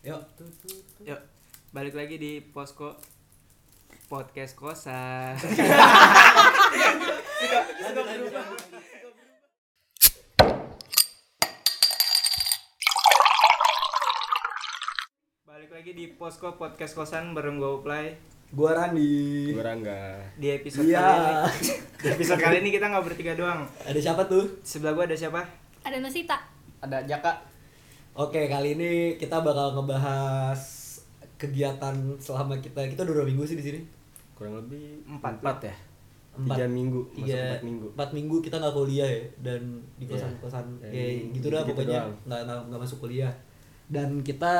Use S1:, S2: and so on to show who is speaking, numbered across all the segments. S1: Yuk,
S2: Yuk, balik lagi di Posko Podcast Kosan. balik lagi di Posko Podcast Kosan bareng gue Uplay
S1: gua Randi.
S3: Gue Rangga
S2: di episode
S1: Iya.
S2: kali ini. Di episode kali ini kita nggak bertiga doang.
S1: Ada siapa tuh?
S2: Sebelah gue ada siapa?
S4: Ada Nasita.
S2: Ada Jaka.
S1: Oke, kali ini kita bakal ngebahas kegiatan selama kita kita udah dua minggu sih di sini.
S3: Kurang lebih
S2: Empat.
S3: empat ya? Tiga minggu, masuk
S1: tiga,
S3: empat minggu.
S1: empat minggu kita nggak kuliah ya dan di
S3: Iya.
S1: kosan kosan
S3: Dan
S1: kayak gitu dah
S3: gitu-gitu
S1: pokoknya
S3: doang.
S1: nggak nggak nggak masuk kuliah dan kita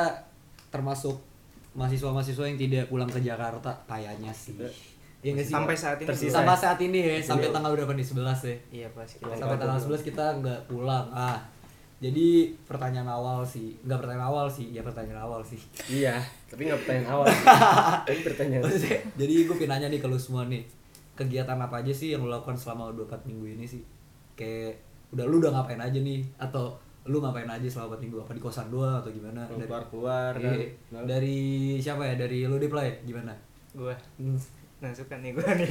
S1: termasuk mahasiswa-mahasiswa yang tidak pulang ke Jakarta kayaknya sih. Iya nggak sih?
S2: Sampai saat ini
S3: Tersisa. Iya.
S1: sampai saat ini ya, sampai tanggal berapa nih 11 ya.
S2: Iya pas kita.
S1: sampai tanggal 11 kita nggak pulang ah jadi pertanyaan awal sih nggak pertanyaan awal sih ya pertanyaan awal sih
S3: Iya, tapi nggak pertanyaan awal Tapi
S2: Iya.
S3: pertanyaan
S1: Maksudnya, jadi gue pengen nanya nih ke lu semua nih kegiatan apa aja sih yang lu lakukan selama 24 minggu ini sih kayak udah lu udah ngapain aja nih atau lu ngapain aja selama 4 minggu apa di kosan doang atau gimana Dari-
S3: Keluar-keluar
S5: kan.
S1: Iya.
S3: dari,
S1: dari, siapa ya dari lu di play gimana
S2: Gue.
S1: Hmm.
S2: Nah suka nih gue nih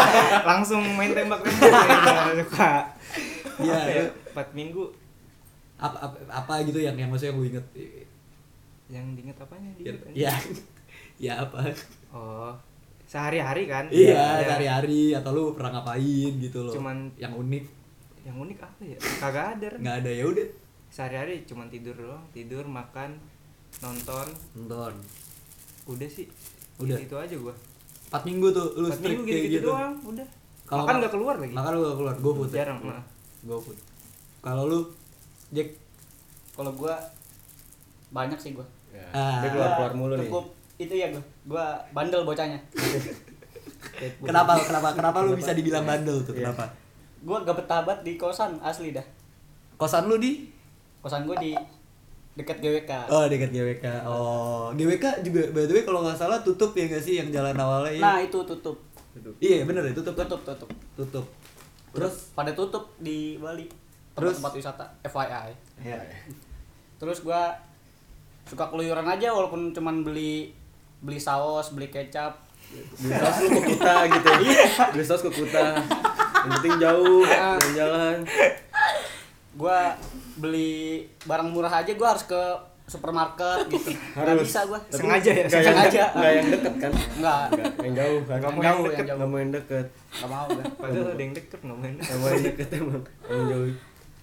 S2: Langsung main tembak-tembak ya, gua suka
S1: Iya.
S2: Apa ya, Empat minggu
S1: apa, apa, apa gitu yang yang maksudnya gue inget
S2: Iya, Yang diinget apanya
S1: ya
S2: diinget aja.
S1: ya, ya apa
S2: Oh Sehari-hari kan
S1: Iya,
S2: Ya,
S1: sehari-hari atau lu pernah ngapain gitu loh.
S2: Cuman-
S1: yang unik
S2: Yang unik apa ya Kagak ada Ren.
S1: nggak ada ya udah
S2: Sehari-hari cuman tidur doang Tidur, makan Nonton
S1: nonton.
S2: Udah sih
S1: Udah.
S2: Itu aja gue
S1: 4 minggu tuh lu
S2: Empat
S1: strict
S2: minggu
S1: kayak
S2: gitu-gitu
S1: gitu.
S2: doang Udah Makan nggak keluar lagi
S1: Makan lu nggak keluar, gue food. ya?
S2: Jarang nah.
S1: Go food. Kalau lu Jack
S5: Kalau gua banyak sih gua.
S3: Ya.
S1: Ah.
S3: Dia keluar-keluar mulu nih
S5: Cukup itu ya gua. Gua bandel bocahnya.
S2: Eh,
S1: kenapa kenapa kenapa lu bisa dibilang bandel tuh?
S3: Iya.
S1: Kenapa?
S5: gua gak betah banget di kosan asli dah.
S1: Kosan lu di
S5: Kosan gua di dekat GWK.
S2: Ah.
S1: Oh, dekat GWK. Oh, GWK juga by the way kalau nggak salah tutup ya nggak sih yang jalan awalnya? Iya.
S5: Nah, itu tutup.
S3: Gitu.
S1: iya, bener ya tutup kan?
S5: Tutup, tutup.
S1: Tutup. Terus
S5: Pada tutup di Bali.
S1: Terus?
S5: Tempat-tempat wisata FYI.
S1: ya.
S5: Terus gua suka keluyuran aja walaupun cuman beli beli saus, beli kecap.
S3: Beli saus lu ke Kuta gitu Beli saus ke Kuta Yang penting jauh,
S5: Ah.
S3: jalan-jalan
S5: Gua beli barang murah aja gua harus ke supermarket gitu. Gak bisa gua.
S3: Tapi
S2: Sengaja ya,
S3: nggak yang-
S5: sengaja.
S3: nggak yang deket kan
S5: Enggak,
S3: Nggak, yang jauh kan
S5: Nggak mau
S3: Nggak
S5: yang deket.
S3: nggak mau yang deket
S5: gak mau gua.
S2: Padahal ada yang deket nggak main
S3: Nggak mau yang deket emang Yang jauh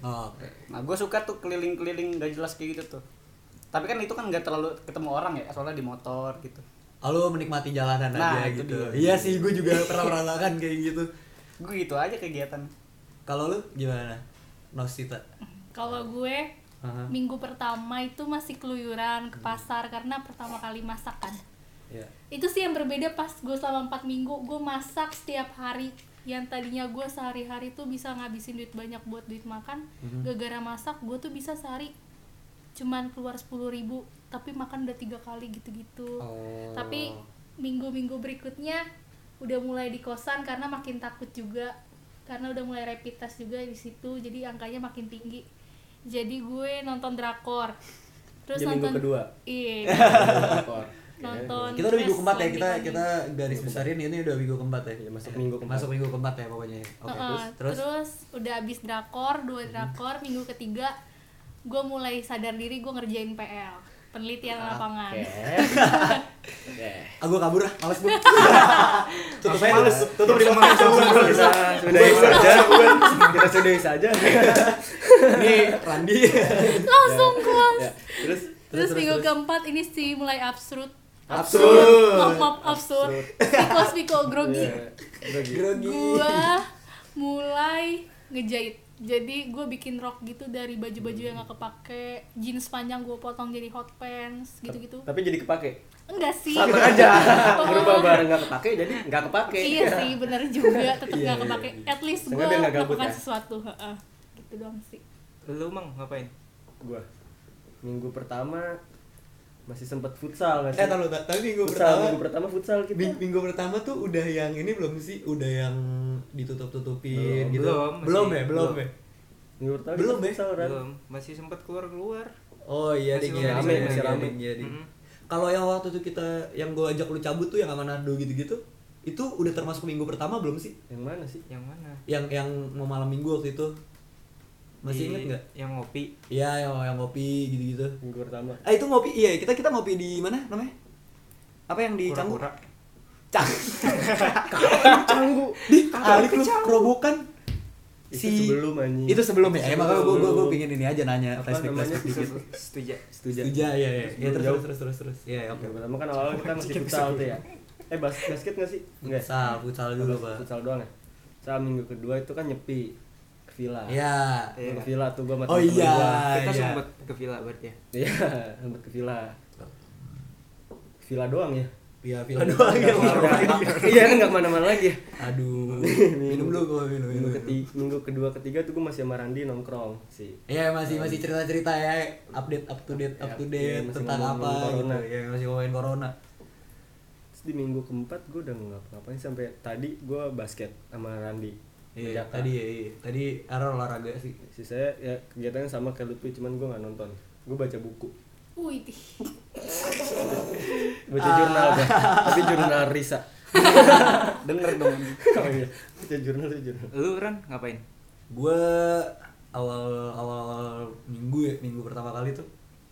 S1: Oh, Oke.
S5: Nah, gue suka tuh keliling-keliling gak jelas kayak gitu tuh. Tapi kan itu kan gak terlalu ketemu orang ya, soalnya di motor gitu.
S1: Lalu menikmati jalanan
S5: Nah,
S1: aja
S5: itu
S1: gitu. Iya
S5: dia.
S1: sih, gue juga pernah merasakan kayak gitu.
S5: Gue gitu aja kegiatan.
S1: Kalau lu gimana? Nosita.
S4: Kalau gue
S1: Aha.
S4: minggu pertama itu masih keluyuran ke pasar karena pertama kali kan. masakan.
S1: Iya.
S4: Itu sih yang berbeda pas gue selama 4 minggu gue masak setiap hari. Yang tadinya gue sehari-hari tuh bisa ngabisin duit banyak buat duit makan.
S3: Mhm.
S4: Gara-gara masak gue tuh bisa sehari cuman keluar 10.000 ribu tapi makan udah tiga kali gitu-gitu.
S1: Oh.
S4: Tapi minggu-minggu berikutnya udah mulai di kosan karena makin takut juga karena udah mulai rapid test juga di situ jadi angkanya makin tinggi jadi gue nonton drakor terus
S3: Jadi minggu
S4: nonton
S3: kedua?
S4: iya nonton
S1: Kita udah minggu
S4: wrestling
S1: keempat ya, kita
S4: lagi. kan,
S1: kita garis besarin ini udah minggu keempat ya.
S3: Iya, masuk minggu keempat.
S1: Masuk minggu keempat ya pokoknya. ya. Oke,
S4: Heeh,
S1: terus
S4: terus, udah abis drakor dua drakor minggu ketiga gue mulai sadar diri gue ngerjain PL penelitian lapangan
S1: ah gua kabur lah, males gua. tutup aja.
S2: males.
S1: tutup di mana?
S3: Sudah, sudahi saja Kita sudahi saja
S1: Nih, Randi.
S4: langsung kelas
S3: Ya, Terus
S4: terus, minggu keempat ini sih mulai absurd
S3: Absurd
S4: maaf maaf absurd psikos piko grogi
S1: Grogi.
S4: gua mulai ngejahit jadi gue bikin rok gitu dari baju-baju yang gak kepake jeans panjang gue potong jadi hot pants gitu-gitu
S3: Tapi jadi kepake
S4: enggak sih
S3: sama aja
S4: Oh.
S3: berubah barang nggak kepake jadi nggak kepake
S4: iya sih bener juga tetep gak
S3: Iya, iya,
S4: kepake
S3: iya.
S4: at least gue
S3: Seenggaknya biar nggak gabut
S4: melakukan
S3: ya.
S4: sesuatu heeh gitu doang sih
S2: Lu mang ngapain?
S3: gua minggu pertama masih sempat futsal nggak sih
S1: Eh, tahu tapi minggu
S3: futsal
S1: pertama
S3: minggu pertama futsal kita
S1: Ming- minggu pertama tuh udah yang ini belum sih udah yang ditutup tutupin
S2: Belum,
S1: gitu
S2: belum, masih-
S1: belum ya belum,
S2: belum.
S1: ya
S3: Ngulur tahu
S1: Belum,
S3: kita
S1: Be.
S3: sauran.
S2: belum masih sempat keluar keluar
S1: Oh iya
S2: Masih
S1: ding ya,
S2: rame,
S1: ding,
S3: masih
S1: iya,
S3: rame. Mm-hmm.
S1: ding, iya, ding.
S2: Mm-mm.
S1: Kalau yang waktu itu kita yang gue ajak lu cabut tuh yang sama Nando gitu-gitu, itu udah termasuk minggu pertama belum sih?
S3: Yang mana sih?
S2: yang mana
S1: Yang yang mau malam minggu waktu itu masih
S3: Iya,
S2: Di-
S1: inget nggak?
S2: yang ngopi
S1: Iya yang yang ngopi gitu-gitu.
S3: Minggu pertama.
S1: Ah itu ngopi iya kita kita ngopi di mana namanya? Apa yang di Canggu?
S2: Kura-kura.
S1: Canggu. Canggu. Di kali lu kerobokan.
S3: Itu sebelum, anjing.
S1: Itu sebelum ya.
S3: Sebelum.
S1: Emang gue gue gue pingin ini aja nanya
S3: Apa
S1: flashback
S3: namanya?
S1: flashback dikit.
S2: setuju
S3: Setuju.
S1: Setuju
S2: Iya,
S1: ya ya. Ya
S3: Sebelum
S1: terus
S3: jauh.
S1: terus terus terus terus. Ya ya oke.
S3: Yang pertama kan awalnya kita masih futsal tuh ya. Eh bas basket nggak sih? Nggak ya?
S1: Futsal, futsal dulu, Pak.
S3: Futsal doang ya. Futsal minggu kedua itu kan nyepi ke villa.
S1: Ya.
S2: Iya.
S3: Ke villa tuh gua sama
S1: Oh
S3: temen-temen
S1: iya.
S3: gua.
S2: kita
S1: iya.
S2: sempat ke villa berarti ya
S3: Iya, sempet ke villa. Ke villa doang ya.
S1: Ya villa doang ya.
S3: Iya kan nggak kemana-mana lagi. ya.
S1: Aduh. Minum dulu gue minum minum.
S3: Minggu, keti- minggu kedua ketiga tuh gue masih sama Randi nongkrong sih.
S1: Ya masih masih cerita-cerita ya, update up to date up to
S3: Iya,
S1: date
S3: masih
S1: tentang
S3: ngomongin
S1: apa
S3: corona.
S1: gitu. Ya masih ngomongin corona.
S3: Terus di minggu keempat gue udah nggak ngapain sampai tadi gue basket sama Randi.
S1: Iya,
S3: Berjaka.
S1: tadi ya, iya. Tadi arah olahraga sih.
S3: Si saya ya kegiatannya sama kayak Lutfi cuman gue nggak nonton. Gue baca buku.
S4: Wih,
S3: Baca
S1: Ah.
S3: jurnal dah. Tapi jurnal Risa.
S5: Denger dong.
S3: Oh iya. Baca jurnal itu jurnal.
S2: lu Ran ngapain
S1: Gue awal awal minggu ya, minggu pertama kali tuh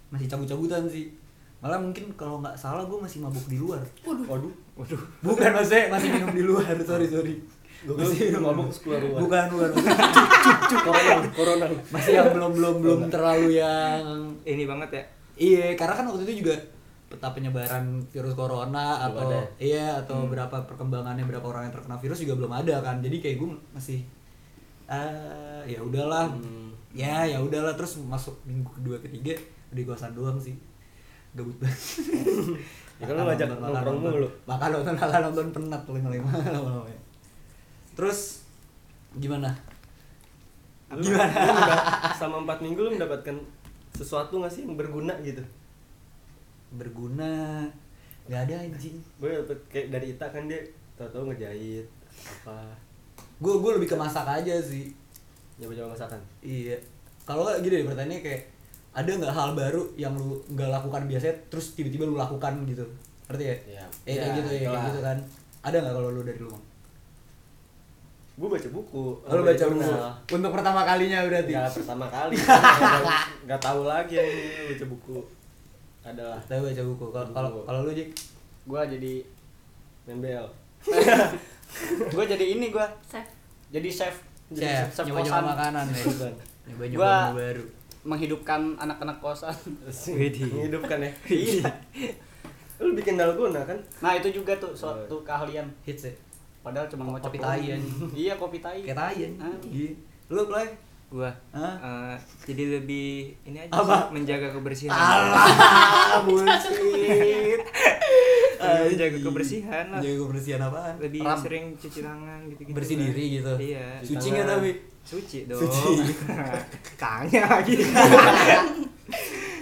S1: masih cabut-cabutan sih. Malah mungkin kalau nggak salah gue masih mabuk di luar.
S3: Waduh.
S2: waduh
S1: Bukan maksudnya masih minum di luar, sorry sorry.
S3: Gua kira mabuk keluar luar.
S1: Bukan bukan. bukan.
S3: Corona, corona.
S1: masih yang belum belum belum terlalu yang
S2: ini banget ya
S1: Iya, karena kan waktu itu juga peta penyebaran virus corona atau
S3: ada. Hmm.
S1: iya atau berapa perkembangannya berapa orang yang terkena virus juga belum ada kan. Jadi kayak gue masih eh ya udahlah.
S3: Hmm.
S1: Ya, ya udahlah terus masuk minggu kedua ketiga di kosan doang sih. Gabut banget.
S3: Ya kan lu ngajak
S1: Makan
S3: nongkrong
S1: nonton.
S3: mulu.
S1: Makan nonton, makan nonton penat lima-lima lama-lama. Terus gimana?
S3: Lu- lu mendapat- sama empat minggu lu mendapatkan sesuatu nggak sih yang berguna gitu
S1: Berguna? Gak ada anjing.
S3: gue dapet kayak dari Ita kan dia tahu-tahu ngejahit apa
S1: gue gue lebih ke masak aja sih
S3: coba-coba masakan
S1: iya kalau nggak gini deh pertanyaannya kayak ada nggak hal baru yang lu nggak lakukan biasanya terus tiba-tiba lu lakukan gitu ngerti ya
S3: Iya.
S1: eh kayak
S3: Iya,
S1: gitu ya kayak
S3: itulah.
S1: gitu kan ada nggak kalau lu dari lu Mang?
S3: gue Oh, baca buku
S1: lu baca buku
S3: jurnal.
S1: untuk pertama kalinya berarti
S3: ya pertama kali Nggak- nggak tahu lagi yang ini, baca buku adalah
S1: tapi baca buku Kalau- kalau
S3: Buku.
S1: kalau lu Jik
S5: Gua jadi
S3: main BL
S5: gua jadi ini gua.
S4: Chef.
S5: Jadi chef. Jadi
S1: chef nyoba nyoba
S5: kosan.
S1: makanan ya nyoba
S3: Bukan.
S1: nyoba
S5: Gua-
S1: menu baru
S5: Menghidupkan anak-anak kosan.
S2: Widih.
S3: menghidupkan ya
S5: Iya.
S3: lu bikin dalgona kan
S5: Nah, itu juga tuh suatu keahlian.
S1: hits ya
S5: Padahal cuma ngocok
S1: Kopi
S5: doang.
S1: tai, anjing.
S5: Iya, kopi tai.
S1: kayak tayen
S5: Ah.
S1: Iya. lu play
S2: gua
S1: Hah?
S2: eh, jadi lebih ini aja
S1: Apa?
S2: sih, menjaga kebersihan
S1: alah bullshit
S2: Lebih menjaga kebersihan lah
S1: menjaga kebersihan apaan
S2: lebih
S1: Ram.
S2: sering cuci tangan gitu gitu
S1: bersih diri gitu
S2: iya
S1: suci nggak
S3: tangan.
S1: tapi
S2: suci dong
S1: Suci.
S2: tanya lagi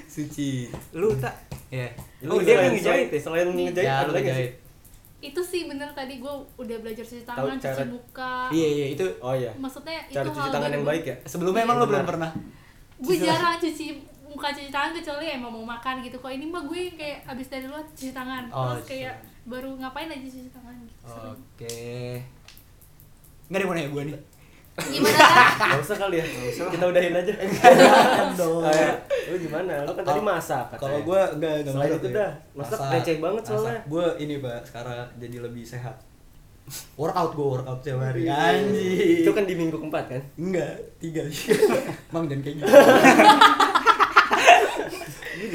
S1: suci
S2: lu tak
S1: ya
S2: Oh, dia
S3: selain-
S2: yang ngejahit ya?
S3: selain ngejahit
S1: Ya, lu
S3: ada lagi nggak
S1: jahit.
S3: sih
S4: Itu sih bener tadi gue udah belajar cuci
S3: Tahu
S4: tangan, cuci
S3: cara-
S4: muka.
S1: iya iya itu
S3: oh iya
S4: Maksudnya
S3: cara
S4: itu
S3: cuci tangan yang baik ya
S1: sebelumnya emang lo
S3: Benar.
S1: belum pernah
S4: Gue jarang cuci muka cuci tangan kecuali emang mau makan gitu. Kok ini mah gue kayak abis dari luar cuci tangan.
S1: Oh,
S3: iya.
S4: Terus kayak baru ngapain aja cuci tangan gitu.
S3: Oh.
S4: Sering.
S1: oke nggak ada yang mau nanya gue nih
S4: Gimana? Kak?
S3: Gak usah kali ya, kita udahin aja
S1: dong
S3: Ah, ya. Lu gimana? Lu kan
S1: Kalau-
S3: tadi masak katanya.
S1: kalau gue nggak nggak
S3: Selain
S1: masak
S3: itu
S1: ya.
S3: dah, masak receh banget soalnya.
S1: gue ini pak sekarang jadi lebih sehat workout gue workout tiap hari anjing
S3: Itu kan di minggu keempat kan?
S1: Enggak, tiga Mang jangan kayak gitu Di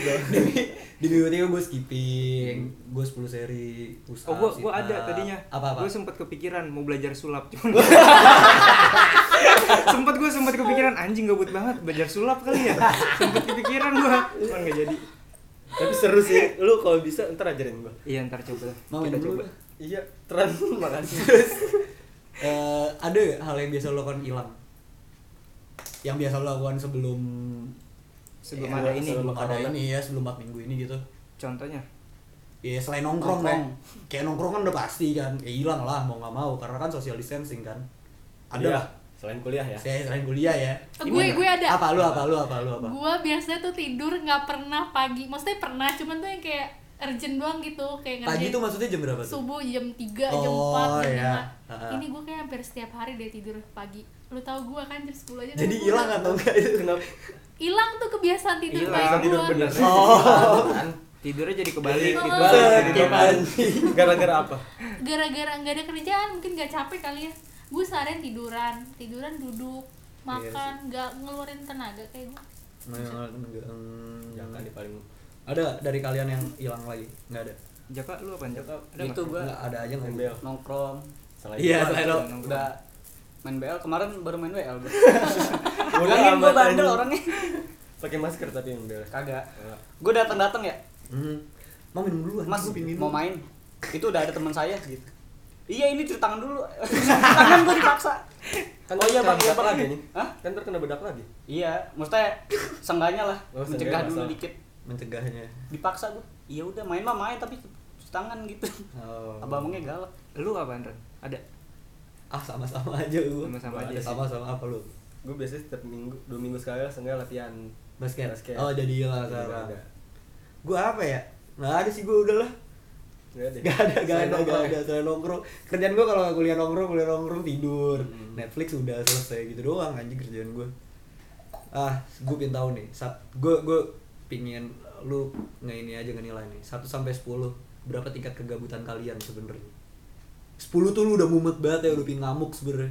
S1: di minggu tiga gue skipping Gue 10 seri push
S2: oh
S1: up,
S2: gua
S1: sit
S2: gua
S1: up.
S2: ada tadinya
S1: Apa-apa?
S2: gua sempat kepikiran mau belajar sulap cuman sempat gua sempat kepikiran anjing gabut banget belajar sulap kali ya sempat kepikiran gua cuman nggak jadi
S3: Tapi seru sih. Lu kalau bisa ntar ajarin gua.
S2: iya ntar coba lah.
S1: Mau minum
S2: kita
S1: dulu
S2: coba
S1: dah.
S3: Iya, terus makasih.
S1: Eh, Ada nggak hal yang biasa lo lakukan hilang? Yang biasa lo lakukan sebelum
S3: Iya,
S2: sebelum
S1: eh,
S2: ada ini
S1: sebelum ada
S3: corona.
S1: ini ya, sebelum 4 minggu ini gitu
S2: contohnya
S1: Ya selain nongkrong,
S5: Nongkrong.
S1: Nek. Ya, Kayak nongkrong kan udah pasti kan Ya hilang lah, mau nggak mau Karena kan social distancing kan Ada
S3: Iya,
S1: lah
S3: Selain kuliah ya.
S1: Saya selain kuliah ya.
S4: Eh, gue gue ada
S1: Apa lu apa lu apa lu apa?
S4: gue biasanya tuh tidur nggak pernah pagi maksudnya pernah cuman tuh yang kayak urgent doang gitu kayak
S1: Pagi
S4: ngerjain
S1: tuh maksudnya jam berapa tuh?
S4: subuh jam 3, jam
S1: Oh,
S4: 4, jam
S1: iya.
S4: 5
S1: Ha-ha.
S4: ini gue kayak hampir setiap hari deh tidur pagi lu tau gue kan jam 10 aja
S1: Jadi
S4: tidur.
S1: hilang atau enggak itu kenapa?
S4: hilang tuh kebiasaan tidur
S2: Hilang,
S4: pagi
S3: tidur
S4: gue
S3: bener.
S1: Oh. Iya.
S2: Kan tidurnya jadi kebalik gitu.
S3: Balik,
S2: Jadi
S3: tidur pagi. Gara-gara apa?
S4: gara-gara nggak ada kerjaan mungkin nggak capek kali ya gue seharian tiduran tiduran duduk makan nggak ngeluarin tenaga kayak gue
S1: Nah, enggak, hmm,
S3: Jangan di paling
S1: Ada dari kalian yang hilang lagi? Enggak ada.
S2: Jaka lu apa Jaka? Ada
S5: itu
S2: nggak?
S5: gue
S1: Enggak ada aja enggak?
S3: Ambil.
S5: nongkrong
S3: Selain
S1: Iya,
S5: Gua
S1: selain
S2: lo.
S5: udah main BL kemarin baru main BL gue
S3: Bodoh
S5: kan gue
S3: amat,
S5: bandel
S3: anjing.
S5: orangnya
S3: pakai masker tapi ambil.
S5: kagak gue datang datang ya
S1: Hmm. Mau minum dulu anjing,
S5: mas
S1: gua pingin minum.
S5: mau main itu udah ada teman saya gitu iya ini cuci tangan dulu tangan gue dipaksa
S3: Kan
S5: oh iya
S3: terkena
S5: bang iya
S3: bedak
S5: bang
S3: lagi nih.
S5: Hah?
S3: Kan ntar kena bedak lagi.
S5: iya maksudnya sengganya lah
S3: Oh,
S5: mencegah
S3: seenggaknya
S5: dulu
S3: masalah.
S5: dikit
S1: mencegahnya.
S5: dipaksa gue iya udah main mah main tapi cuci tangan gitu
S1: Oh.
S5: abangnya galak
S2: Lu apaan Ren? Ada.
S1: Ah, sama-sama aja gua.
S2: Sama-sama
S1: Gua
S2: aja
S1: ada
S2: sih.
S1: Sama-sama apa lu?
S3: Gue biasanya setiap minggu, dua minggu sekali lah seenggaknya latihan
S1: Basket.
S3: Basket.
S1: Oh, jadi hilang
S3: Jadi
S1: sekarang.
S3: nggak ada.
S1: Gua apa ya? Nggak ada sih gua udah lah.
S3: Nggak ada.
S1: Gak ada, gak ada,
S3: Selain
S1: gak
S3: nongkrong
S1: ada
S3: ya.
S1: selain nongkrong. Kerjaan gue kalau nggak kuliah nongkrong, kuliah nongkrong tidur.
S3: Hmm.
S1: Netflix udah selesai gitu doang anjing kerjaan gue. Ah, gue pengen tahu nih. Sat, gue gue pingin lu nggak ini aja ngenilai nih. 1 sampai 10 berapa tingkat kegabutan kalian sebenarnya? 10 tuh lu udah mumet banget ya, udah pingin ngamuk sebenarnya.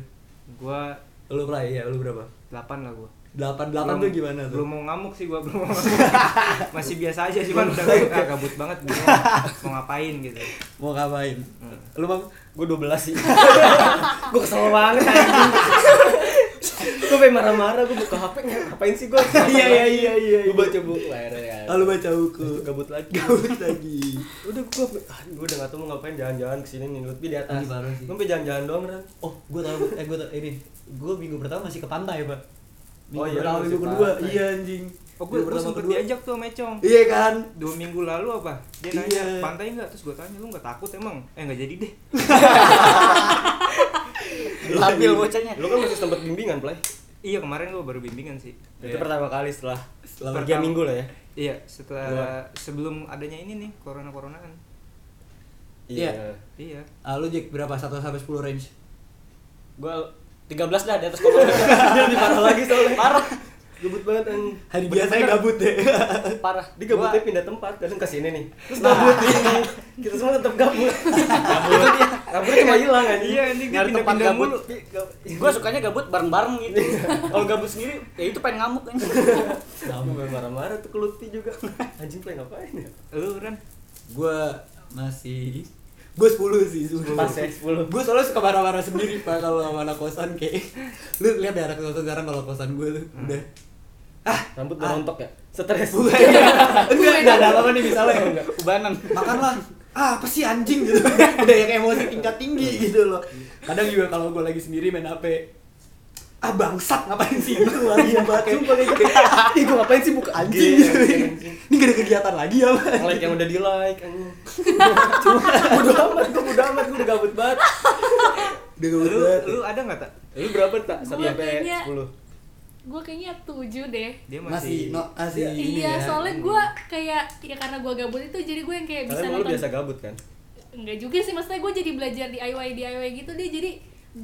S2: Gua
S1: Lu lah ya, lu berapa?
S2: 8 lah gua.
S1: 8 8 tuh
S2: Belum-
S1: gimana tuh?
S2: Belum mau ngamuk sih gua, belum mau ngamuk. Masih biasa aja sih, Bang. Udah gak gabut banget gua. Mau ngapain gitu.
S1: Mau ngapain?
S2: Hmm.
S1: Lu bang?
S3: Gue 12 sih.
S2: Gua kesel banget anjing.
S3: gue pengen marah-marah, gue buka HP nya ngapain sih gue?
S1: Iya, iya, iya, iya,
S3: Gue baca buku akhirnya. ya.
S1: Ah, lu baca buku.
S3: Terus gabut lagi.
S1: Gabut lagi.
S3: Udah gue, gue udah gak tau mau ngapain jalan-jalan kesini nih Lutfi di atas.
S1: Ih, parah sih.
S3: Gue pengen jalan-jalan doang kan.
S1: Oh, gue tau, eh gue tau, ini Gue minggu pertama masih ke pantai, Pak Minggu
S3: Oh, iya,
S1: pertama,
S3: masih
S1: minggu
S3: ke
S1: kedua,
S3: pantai.
S1: iya anjing
S2: Oh, gua,
S1: Minggu
S2: gua sempet diajak tuh sama Econg.
S1: Iya kan?
S2: Dua minggu lalu apa? Dia
S1: Iya.
S2: nanya, pantai nggak? Terus gua tanya, lu nggak takut emang? Eh, nggak jadi deh.
S5: labil bocahnya
S3: Lu kan masih sempet bimbingan, Play.
S2: Iya, kemarin gua baru bimbingan sih.
S3: Itu pertama kali setelah
S1: Setelah
S3: tiga
S2: pertama-
S3: minggu lah ya.
S2: Iya, setelah
S3: Dua.
S2: sebelum adanya ini nih, corona-coronaan.
S1: Iya.
S2: Iya.
S1: Ah, lu Jack, berapa? 1 sampai 10 range?
S5: gue 13 dah di atas kolom
S3: Lebih parah lagi soalnya.
S5: parah
S3: Gabut banget kan.
S1: Hari biasanya gabut ya. deh
S5: parah
S3: Dia gabutnya
S5: Gua-
S3: pindah tempat, kadang ke sini nih. Terus gabut ini. Kita semua tetap gabut. Gabut. Gabutnya cuma hilang kan.
S2: Iya, anjing dia
S5: Nyari tempat
S2: pindah-pindah
S5: gabut.
S2: mulu.
S5: gue sukanya gabut bareng-bareng gitu
S3: Iya.
S5: kalau gabut sendiri ya itu pengen ngamuk kan
S3: Kamu marah-marah tuh ke Lutfi juga. Anjing Play ngapain ya?
S2: Lu, Ren?
S1: Gue masih Gue 10 sih, 10
S3: Pas ya, 10.
S1: Gue soalnya suka marah-marah sendiri, Pak Kalau sama anak kosan kayak Lu lihat daerah kosan sekarang kalau kosan gue tuh Udah Ah,
S3: Rambut
S1: ah.
S3: berontok ya? Stres.
S1: Bukan Enggak, enggak ada apa-apa nih misalnya
S3: ya,
S5: ubanan
S3: Nah,
S1: makanlah ah apa sih anjing gitu udah yang emosi tingkat tinggi gitu loh kadang juga kalau gue lagi sendiri main HP ah bangsat ngapain sih gitu lagi banget
S3: Sumpah kayak gitu.
S1: ih gue ngapain sih buka anjing
S3: Iya,
S1: gitu ini gak ada kegiatan lagi ya Pak?
S3: Like yang udah di like. Cuma udah amat, gue udah amat, gue udah gabut banget.
S1: udah
S3: Iya,
S1: gak
S2: Lu,
S1: berat
S2: lu ada nggak, tak?
S3: Lu berapa tak? Satu
S4: Gua
S3: sampai
S4: kayaknya-
S3: sepuluh.
S4: gue kayaknya 7 deh
S2: Dia
S1: masih no masih ini
S4: iya
S1: ya.
S4: soalnya gue kayak ya karena gue gabut itu jadi gue yang kayak bisa
S3: Kalian lu
S4: nonton
S3: biasa gabut kan?
S4: enggak juga sih maksudnya gue jadi belajar DIY DIY gitu dia jadi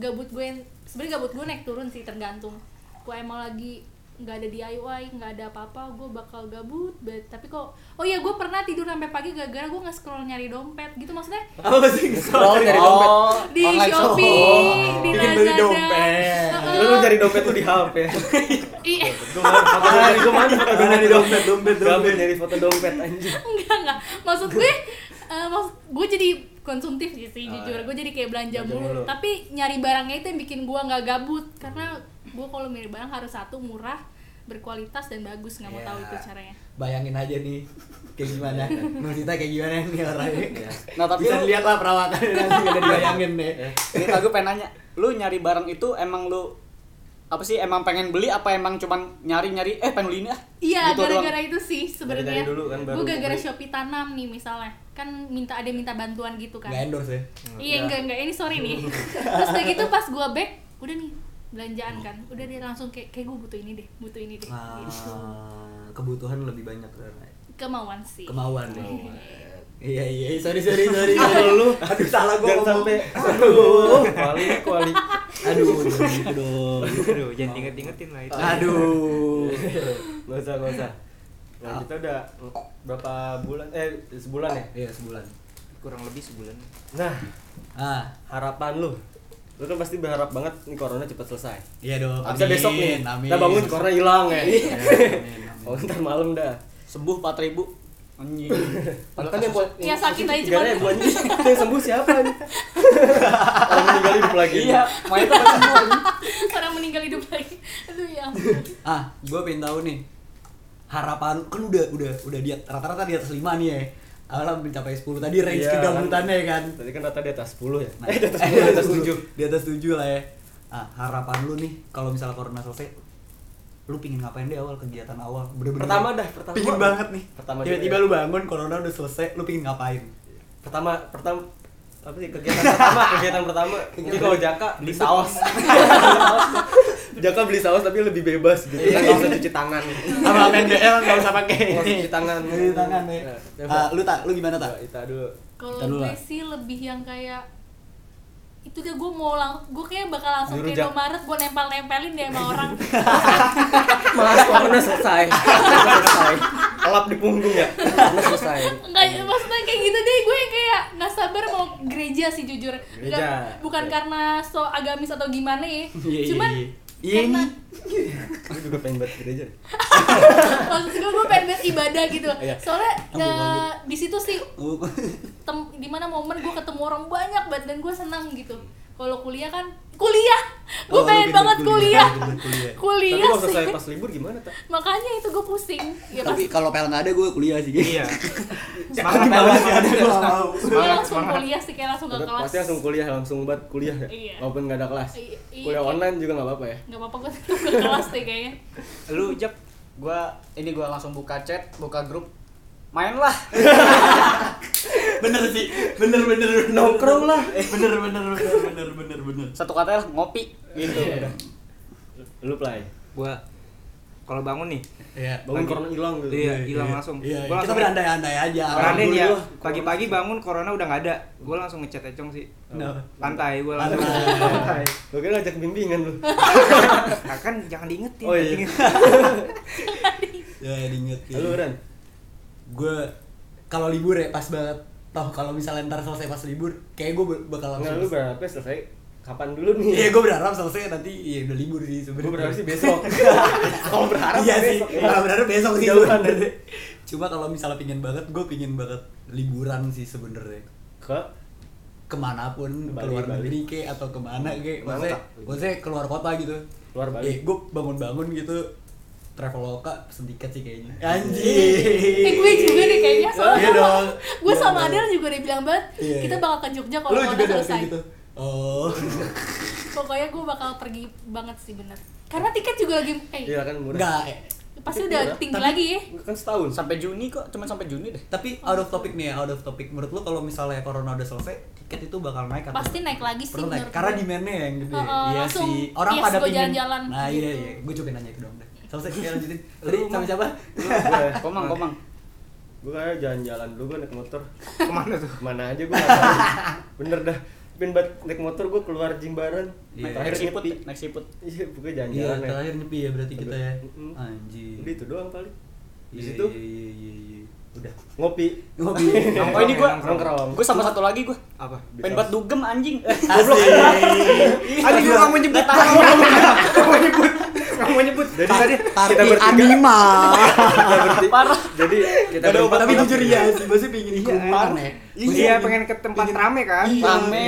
S4: gabut gue yang- sebenarnya gabut gue naik turun sih tergantung gue emang lagi nggak ada DIY nggak ada apa-apa gue bakal gabut banget. tapi kok oh iya gue pernah tidur sampai pagi gara-gara gue nggak scroll nyari dompet gitu maksudnya
S1: apa sih
S5: Oh, nyari dompet.
S4: di
S5: Online shop.
S4: Shopee di
S1: Bikin beli
S4: Lazada
S1: dompet.
S4: Heeh.
S3: Lu cari dompet tuh di HP.
S4: Iya.
S3: Gue mana? Foto nyari gue mana? Foto
S1: Nyari
S3: nyari
S1: dompet,
S3: dompet,
S1: dompet,
S3: Gabut
S1: dompet.
S3: nyari foto dompet anjing.
S4: enggak enggak maksud gue eh, maksud gue jadi konsumtif sih sih,
S3: Ah,
S4: jujur
S3: iya.
S4: gue jadi kayak belanja
S3: Belanja mulu.
S4: mulu tapi nyari barangnya itu yang bikin gue nggak gabut karena gue kalau milih barang harus satu murah berkualitas dan bagus
S3: Iya.
S4: nggak mau tahu
S1: Ya.
S4: itu caranya
S1: bayangin aja nih kayak gimana Nusita kayak gimana nih orangnya
S5: Nah, tapi
S1: bisa
S5: lu- Eh,
S1: lihat lah perawakannya nanti udah dibayangin deh
S5: Ini tau gue pengen nanya, lu nyari barang itu emang lu apa sih emang pengen beli apa emang cuman nyari nyari eh pengen beli ini ah
S4: iya
S5: Gitu doang.
S4: gara-gara itu sih sebenarnya
S3: Dari-dari dulu kan, baru
S4: gue gara-gara
S3: beli.
S4: shopee tanam nih misalnya kan minta ada yang minta bantuan gitu kan
S1: nggak
S3: Hmm,
S1: endorse ya
S4: Iya enggak enggak ini sorry nih. Terus udah gitu pas gua back udah nih belanjaan kan udah dia langsung kayak kayak gue butuh ini deh butuh ini deh
S1: Ah,
S4: gitu.
S1: kebutuhan lebih banyak karena
S4: kemauan sih
S1: kemauan deh. Iya iya iya, sorry sorry sorry.
S3: Ah, lu
S1: Aduh salah gua
S3: jangan
S1: ngomong.
S3: sampai aduh kuali kuali
S1: Aduh jangan gitu dong.
S2: Aduh, jangan diinget-ingetin lah itu.
S3: Ah.
S1: Aduh.
S3: nggak usah nggak usah nah, kita udah berapa bulan eh sebulan ya
S1: Iya sebulan.
S2: Kurang lebih sebulan.
S3: nah
S1: Ah
S3: harapan lu lu kan pasti berharap banget nih corona cepat selesai
S1: iya dong.
S3: Abis besok nih
S1: Amin. Iya,
S3: kita bangun corona hilang ya
S1: Amin, amin.
S3: oh ntar malam dah
S5: sembuh 4000 ribu Iya, anjing
S3: Padahal kan yang po-
S4: Ya, sakit aja
S3: tiga
S4: cuman.
S3: ribu anjing. Itu yang sembuh siapa nih? Orang meninggal hidup lagi.
S5: iya mau itu kan sembuh anjing.
S4: orang meninggal hidup lagi aduh ya ampun.
S1: Ah, gue pengen tahu nih. Harapan kan udah udah udah di rata-rata di atas 5 nih ya. Awalnya mencapai 10 tadi range
S3: Iya,
S1: kegabutannya ya kan.
S3: Tadi kan rata di atas 10 ya.
S1: Nah,
S3: Eh, di atas 10, di atas 7.
S1: Di atas 7 lah ya. Ah, harapan lu nih kalau misalnya corona selesai lu pingin ngapain deh awal kegiatan awal bener-bener
S3: Pertama dah, pertama.
S1: pingin banget nih
S3: Pertama
S1: tiba-tiba
S3: juga.
S1: lu bangun corona udah selesai lu pingin ngapain
S3: Pertama pertama apa sih kegiatan pertama, kegiatan pertama. Mungkin kalau Jaka
S5: beli saus
S3: Jaka beli saus tapi lebih bebas
S1: Iya,
S3: gitu. Kan enggak usah cuci tangan.
S1: sama PNBL nggak usah pakai
S3: Nggak usah cuci tangan. Ya,
S1: cuci tangan ya Ah, lu tak lu gimana tak
S3: Kita dulu.
S4: kalau
S1: Ntar dulu
S4: gue
S1: lah.
S4: sih lebih yang kayak itu kayak gue mau lang gue kayak bakal langsung ke
S3: Juru jak-
S4: Indomaret gue nempel nempelin deh sama orang
S3: Mas, corona selesai. Selesai. Elap ya. di punggung ya. Corona selesai.
S4: Enggak, maksudnya kayak gitu deh gue kayak nggak sabar mau gereja sih jujur
S3: Gereja.
S4: Nggak- bukan
S3: Oke.
S4: karena so agamis atau gimana ya
S1: Iya, iya,
S4: cuman
S1: iya. Iya,
S4: karena
S1: nih.
S3: Gue juga pengen banget
S4: Iya
S3: gereja.
S1: iya.
S4: maksud gue gue pengen banget ibadah gitu
S3: Iya.
S4: soalnya
S1: Ampun,
S4: eh,
S1: ampun.
S4: di situ sih
S1: Lu-
S4: tem di mana momen gue ketemu orang banyak banget dan gue senang gitu kalau kuliah kan kuliah gue
S1: Oh, lu
S4: pengen
S1: pengen
S4: banget
S1: kuliah,
S4: kuliah
S1: pengen kuliah.
S4: kuliah,
S3: Tapi kalau
S4: sih
S3: selesai pas libur gimana, Tak?
S4: makanya itu gue pusing
S3: Iya,
S4: ya pas
S1: tapi kalau pel nggak ada gue kuliah sih
S2: Iya.
S1: Semangat banget ya, ada gue nggak mau.
S4: gue langsung kuliah sih kayak langsung ke
S3: Udah,
S4: kelas
S3: Pasti langsung kuliah, langsung buat kuliah ya.
S4: Iya.
S3: Walaupun nggak ada kelas.
S4: I- iya.
S3: Kuliah online juga nggak apa-apa ya.
S4: nggak apa-apa gue tetap ke kelas deh kayaknya
S5: lu jep gua ini gua langsung buka chat buka grup main lah
S1: bener sih bener bener bener. Eh,
S3: Nongkrong lah.
S1: bener bener bener bener bener bener
S5: satu kata lah ngopi gitu
S2: Iya.
S3: Iya.
S5: udah.
S3: Lu play.
S2: Gua kalau bangun nih,
S1: Iya.
S3: Bangun
S2: Lagi.
S3: corona hilang gitu.
S2: Iya. hilang langsung.
S1: Iya,
S2: Gua
S1: kita
S2: langsung-
S1: berandai-andai aja.
S2: berandai nih ya.
S3: Alhamdulillah, corona
S2: Pagi-pagi bangun corona udah nggak ada. Gue langsung ngechat Econg sih.
S1: Kenapa?
S2: Pantai gue langsung.
S1: Pantai.
S2: Pantai.
S3: Lu kira ngajak bimbingan lu.
S2: Nah, kan jangan diingetin.
S3: Oh, iya.
S2: Inget.
S1: Ya, diingetin.
S3: Lu Iya, Ren.
S1: Gue kalau libur ya pas banget. Tahu kalau misalnya ntar selesai pas libur, kayak gue bakal
S3: Nah,
S1: langsung.
S3: lu berapa selesai? Kapan dulu nih?
S1: Iya, gue berharap selesai nanti ya udah libur sih
S3: Gua
S1: sebenarnya.
S3: berharap sih besok. Kalau berharap
S1: iya sih,
S3: besok.
S1: kalau berharap besok sih
S3: Jauhan.
S1: sebenarnya. Cuma kalau misalnya pingin banget, gue pingin banget liburan sih sebenarnya.
S3: Ke
S1: kemanapun
S3: Ke Bali,
S1: keluar
S3: Bali.
S1: negeri ke atau kemana ke
S3: Kemana,
S1: maksudnya
S3: Kak?
S1: maksudnya keluar kota gitu
S3: Keluar Bali.
S1: gue bangun-bangun gitu traveloka pesen tiket sih kayaknya
S3: Iya.
S4: eh
S1: anjing
S4: gue juga deh kayaknya soalnya
S1: Iya dong.
S4: gue
S1: Iya,
S4: sama
S1: iya.
S4: Adel juga udah bilang banget
S1: Iya,
S4: kita
S1: iya.
S4: bakal ke Jogja kalau
S1: lu
S4: corona
S1: juga udah kayak
S4: selesai
S1: gitu oh
S4: pokoknya gue bakal pergi banget sih bener karena tiket juga lagi eh
S3: Iya kan murah.
S1: enggak eh.
S4: pasti udah
S3: Tapi-
S4: tinggi lagi ya
S3: Kan setahun.
S5: sampai Juni kok cuma sampai Juni deh
S1: tapi out of topic nih ya out of topic menurut lu kalau misalnya corona udah selesai tiket itu bakal naik atau
S4: Pasti naik lagi sih
S1: Perlu naik.
S4: menurut
S1: karena
S4: gue.
S1: demandnya yang gede
S4: Heeh,
S1: iya
S4: langsung,
S1: sih orang
S4: yes,
S1: pada
S4: gua
S1: pingin
S4: jalan-jalan
S1: nah
S4: gitu.
S1: iya iya gue juga nanya itu dong dah. selesai ya lanjutin tadi sama siapa
S3: Gua- ya.
S5: komang komang
S3: Gua kayak jalan-jalan dulu gua naik motor.
S2: Kemana tuh?
S3: Mana aja gua nggak tahu. Bener dah. Pin banget naik motor gua keluar Jimbaran.
S1: Iya.
S3: Terakhir
S5: naik siput
S3: nyepi.
S5: naik siput
S3: Iya, bukan
S1: Iya,
S3: jalan-jalan ya.
S1: terakhir nyepi ya berarti kita ya.
S3: Mm-mm.
S1: Anjir.
S3: Udah itu doang paling. Di
S1: Iya,
S3: situ
S1: Iya, iya, iya, iya.
S3: udah ngopi.
S1: Ngopi.
S5: oh ini gua
S2: Iya, Nongkrong.
S3: Nongkrong.
S5: gua sama satu lagi gua
S2: Apa?
S5: pengen buat dugem anjing
S1: Asik.
S2: Aduh, gue Iya. nggak mau nyebut. Nggak mau nyebut. Nggak mau nyebut. Jadi tadi
S1: Tapi anima.
S5: parah
S3: Jadi Iya, kita
S1: Ada
S3: berempat
S1: tapi
S3: malam.
S1: jujur ya sih, masih pingin kumpulan ya. Maksudnya
S2: Iya, pengen ke tempat rame kan?
S1: Iya.
S5: Rame.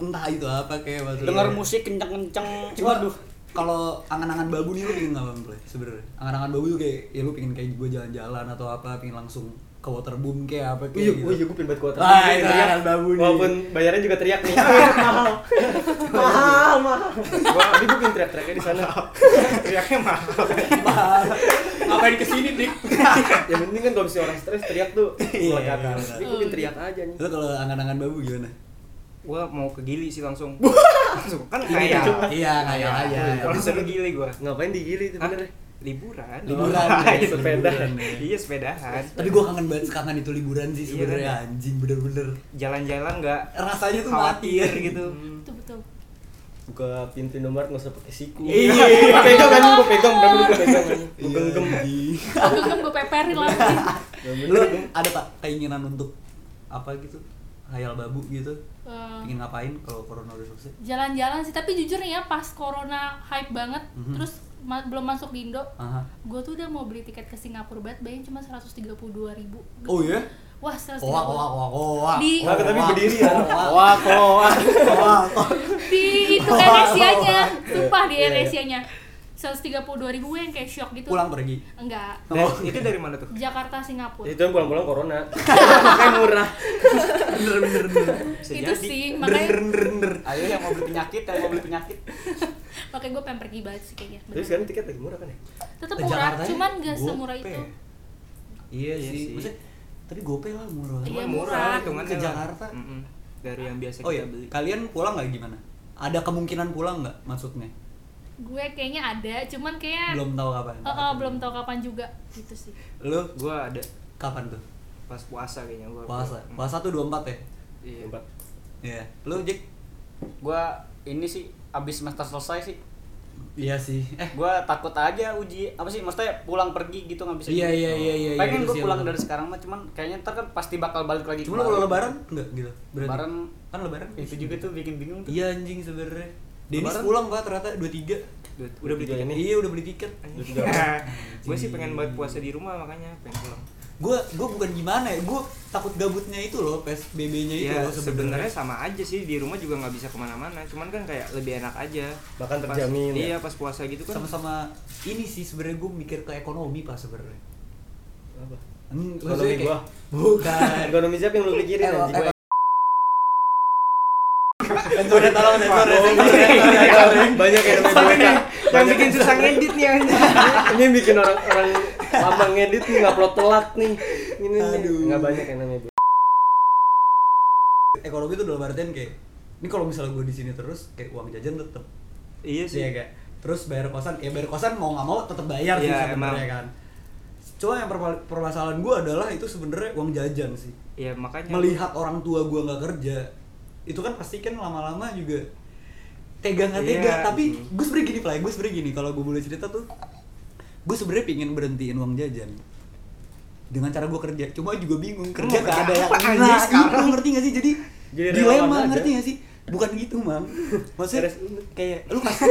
S1: Entah itu apa kayak maksudnya.
S5: denger musik kenceng-kenceng
S1: Cuma
S5: waduh
S1: kalau angan-angan babu nih lu pingin ngapain play sebenarnya? Angan-angan babu tuh kayak ya lu pingin kayak gua jalan-jalan atau apa, pingin langsung ke waterboom kayak apa
S3: Iya,
S1: kayak gitu.
S3: iya, gue pengen buat kuota.
S1: Wah,
S3: Teriak.
S1: itu angan babu nih.
S3: Walaupun bayarnya juga teriak nih. mahal, mahal, mahal. Gua, tapi gue pengen teriak-teriaknya di sana.
S2: Teriaknya mahal.
S1: ngapain kesini dik?
S3: Yang penting kan kalau misalnya orang stres teriak tuh
S1: Iya,
S3: melekat.
S1: iya,
S3: Tapi gue pengen teriak aja nih.
S1: Lu kalau angan-angan babu gimana?
S2: gue mau ke Gili sih langsung langsung kan kaya
S1: Iya, kaya aja.
S2: langsung ke Gili gue
S3: Ngapain di Gili itu
S2: Hah?
S3: bener ya?
S2: liburan
S1: Liburan,
S2: Oh,
S1: ya,
S3: sepeda.
S1: liburan, ya.
S2: iya sepedahan
S1: Tapi gue kangen banget kangen itu liburan ya? sih
S2: Iya, kan?
S1: sebenarnya anjing bener-bener.
S2: jalan-jalan nggak
S1: Rasanya tuh
S2: khawatir
S1: mati. ya. Hmm.
S2: gitu
S4: Itu betul.
S3: Buka pintu nomor nggak usah pakai siku.
S2: Iya.
S3: Gua pegang kan gua pegang, berapa dulu gua pegang anjing. Gua
S1: Iya,
S3: genggam.
S1: anjing.
S4: Gegem gue peperin
S1: Iya.
S4: lagi.
S3: Gak
S1: Lu
S3: bener.
S1: ada tak keinginan untuk apa gitu? Hayal babu gitu.
S4: Eh,
S1: Pengen ngapain kalau corona udah selesai?
S4: Jalan-jalan sih, tapi jujur nih ya pas corona hype banget,
S1: Mhm.
S4: terus ma- belum masuk di Indo,
S1: Aha.
S4: gue tuh udah mau beli tiket ke Singapura banget, bayangin cuma 132 ribu.
S1: Oh iya?
S4: Wah, 132
S1: Koa koa koa koa.
S4: Di-
S1: Koa,
S3: Tapi berdiri ya.
S1: Koa
S5: Wah, kok.
S1: koa. koa.
S4: Di itu
S1: Wah,
S4: Airasianya,
S1: wah.
S4: sumpah di
S3: Iya, iya.
S4: Airasianya. 132 ribu gue yang kayak shock gitu.
S1: Pulang pergi.
S4: Enggak.
S2: Dan
S1: Oh.
S2: itu dari mana tuh
S4: Jakarta Singapura.
S3: Itu yang pulang-pulang corona. Makanya murah.
S1: Bener bener bener.
S2: Bisa
S4: Itu
S2: jadi.
S4: sih,
S1: Bener
S4: makanya
S1: bener bener.
S5: Ayo yang mau beli penyakit, yang mau beli penyakit.
S4: makanya gue pengen pergi banget sih kayaknya.
S3: Tapi sekarang tiket lagi murah kan ya?
S4: Tetap
S1: Ke
S4: murah,
S1: Jakartanya
S4: cuman gak semurah
S1: gope.
S4: itu.
S1: Iya,
S2: Iya
S1: sih.
S2: sih.
S1: Maksudnya tapi gope lah murah.
S4: Iya,
S2: Cuman
S4: murah.
S2: hitungannya
S1: Ke
S2: lah.
S1: Jakarta.
S2: Mm-mm. dari yang biasa
S1: Oh iya,
S2: kita beli
S1: kalian pulang nggak gimana? Ada kemungkinan pulang nggak maksudnya?
S4: Gue kayaknya ada, cuman kayak
S1: Belum tahu kapan.
S4: Eh, eh, belum tahu kapan juga gitu sih.
S1: Lu
S2: gue ada
S1: kapan tuh?
S2: pas puasa kayaknya gue
S1: Puasa. Puasa tuh 24 ya?
S2: iya
S3: Tempat.
S1: Iya. Lu Jack?
S5: Gua ini sih abis semester selesai sih.
S1: Iya sih. Eh,
S5: Gua takut aja uji apa sih maksudnya pulang pergi gitu nggak bisa.
S1: Iya, iya, iya, iya, iya,
S5: Pengen
S1: itu
S5: gua
S1: sih yang
S5: pulang
S1: bener.
S5: dari sekarang mah cuman kayaknya ntar kan pasti bakal balik lagi.
S1: cuma lu kalau lebaran enggak gitu. Berarti.
S5: Lebaran
S1: kan lebaran
S5: itu juga tuh bikin bingung tuh.
S1: Iya anjing sebenarnya. Denis
S3: Lebaran?
S1: pulang Pak ternyata 23.
S2: Dua-
S3: Udah beli tiket nih.
S1: Iya, udah beli tiket.
S3: Udah tiga orang.
S2: gue sih pengen buat puasa di rumah makanya pengen pulang
S1: Gue gue bukan gimana ya, gue takut gabutnya itu loh, PSBB-nya itu
S2: ya
S1: loh sebenarnya.
S2: sebenarnya sama aja sih di rumah juga nggak bisa kemana-mana cuman kan kayak lebih enak aja
S3: Makan
S2: Pas-
S3: terjamin, ya?
S2: iya pas puasa gitu kan
S1: Sama-sama ini sih sebenarnya gue mikir ke ekonomi Pak sebenarnya.
S3: Apa?
S1: Hmm,
S3: Ekonomi
S1: maksudnya kayak-
S3: gua.
S1: Bukan.
S3: Ekonomi siapa yang lu pikirin
S1: Eh,
S3: anjing?
S1: eh, Sensor tolong sensor
S3: Banyak yang
S2: Sorry
S3: namanya
S2: nih,
S3: Banyak
S2: yang bikin susah ngedit nih anjing.
S3: ini bikin orang orang lama ngedit nih ngupload telat nih ini
S1: Aduh.
S3: nggak banyak yang namanya
S1: Ekonomi itu dalam artian kayak ini kalau misalnya gue di sini terus kayak uang jajan tetep
S2: iya
S1: sih ya kayak terus bayar kosan ya bayar kosan mau nggak mau tetap bayar sih
S2: Iya,
S1: sebenarnya
S2: emang.
S1: kan cuma yang perpa- permasalahan gue adalah itu sebenarnya uang jajan sih
S2: ya makanya
S1: melihat orang tua gue nggak kerja itu kan pasti kan lama-lama juga tega nggak tega
S2: Iya.
S1: tapi gue sebenernya gini play gue sebenernya gini kalau gue boleh cerita tuh gue sebenernya pingin berhentiin uang jajan dengan cara gue kerja cuma juga bingung kerja
S2: mau
S1: gak
S2: kerja
S1: ada yang
S2: apa aja
S1: enak gitu
S2: sekarang?
S1: ngerti gak sih jadi
S3: Jadi
S1: dilema
S3: relawan aja.
S1: ngerti gak sih bukan gitu mang maksudnya
S3: Beres.
S1: kayak lu kasih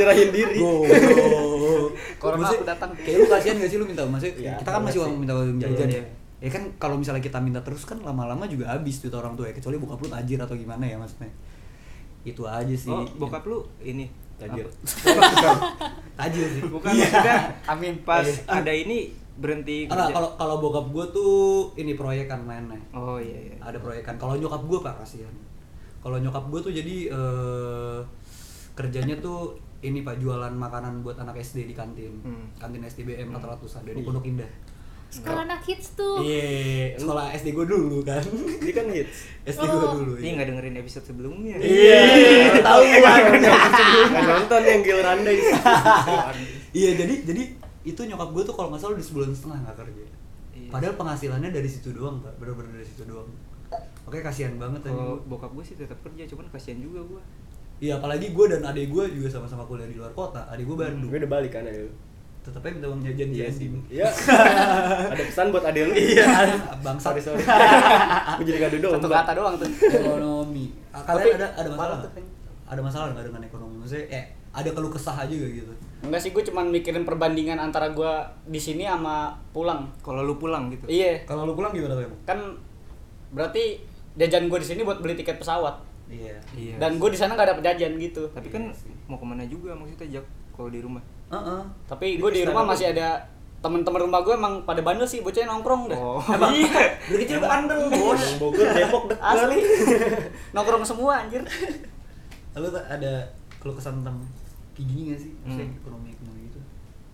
S3: nyerahin diri
S1: Goblok.
S5: Corona
S1: Maksudnya,
S5: aku datang.
S1: Kayak lu kasihan gak sih lu minta maksudnya
S3: Iya,
S1: kita kan masih
S3: pasti.
S1: uang minta uang jajan
S2: Iya,
S1: ya. Ya kan kalau misalnya kita minta terus kan lama-lama juga habis duit orang tua ya kecuali bokap lu tajir atau gimana ya maksudnya. Itu aja sih.
S2: oh bokap lu ini
S3: tajir
S2: Apa?
S1: tajir sih.
S2: bukan maksudnya
S5: Amin.
S2: pas
S1: Iya.
S2: ada ini berhenti
S1: Karena
S2: kerja.
S1: kalau kalau bokap gua tuh ini proyekan mainnya.
S2: oh iya iya
S1: Ada proyekan. Kalau nyokap gua Pak kasihan. Kalau nyokap gua tuh jadi eh, kerjanya tuh ini Pak jualan makanan buat anak SD di kantin.
S2: Hmm. Iya.
S1: Kantin SDBM 400-an dari Pondok Indah.
S4: Sekolah anak hits tuh.
S1: Iya, sekolah SD gue dulu kan.
S3: ini kan hits
S1: SD gue
S4: Oh.
S1: dulu.
S2: ini
S1: Iya,
S2: nggak dengerin episode sebelumnya kan?
S1: Iya, tahu banget.
S3: nggak nonton yang Gil Randai
S1: Iya, jadi jadi itu nyokap gue tuh kalau nggak salah udah sebulan setengah nggak kerja.
S2: Iya.
S1: Padahal penghasilannya dari situ doang, Pak. Bener-bener dari situ doang. Oke, kasihan banget tadi.
S2: kalau bokap gue sih tetap kerja cuman kasihan juga gue
S1: Iya, apalagi gue dan adik gue juga sama-sama kuliah di luar kota. Adik gue Bandung.
S3: gue udah balik kan ada lu
S1: Tetapnya minta uang jajan di SD.
S3: iya ada pesan buat adil lu
S1: Iya. Bangsa
S3: sorry sorry gue jadi ngadu domba
S5: Satu kata doang tuh.
S1: ekonomi. Ah, Kalian
S5: Tapi
S1: ada ada masalah?
S5: malah tuh
S1: nggak?
S5: kan-
S1: Ada masalah nggak dengan ekonomi? Maksudnya, eh, ada keluh kesah aja gak gitu?
S5: Enggak sih, gue cuman mikirin perbandingan antara gue di sini sama pulang.
S2: kalau lu pulang gitu
S5: Iya,
S1: Kalau lu pulang gimana tuh emang?
S5: kan berarti jajan gue di sini buat beli tiket pesawat.
S1: Iya.
S2: iya
S5: Dan gue di sana nggak dapet jajan gitu.
S2: tapi kan mau kemana juga maksudnya jak kalau di rumah
S1: Heeh.
S5: Tapi gue di rumah masih ada temen-temen rumah gue emang pada bandel sih, bocahnya nongkrong deh.
S2: Oh.
S5: Iya,
S1: Dari kecil bandel, Bos.
S3: Orang Bogor Depok dekat
S5: asli. nongkrong semua anjir.
S1: Lalu tuh ada keluh kesah tentang kayak gini gak sih? Maksudnya
S2: Hmm.
S1: ekonomi ekonomi gitu.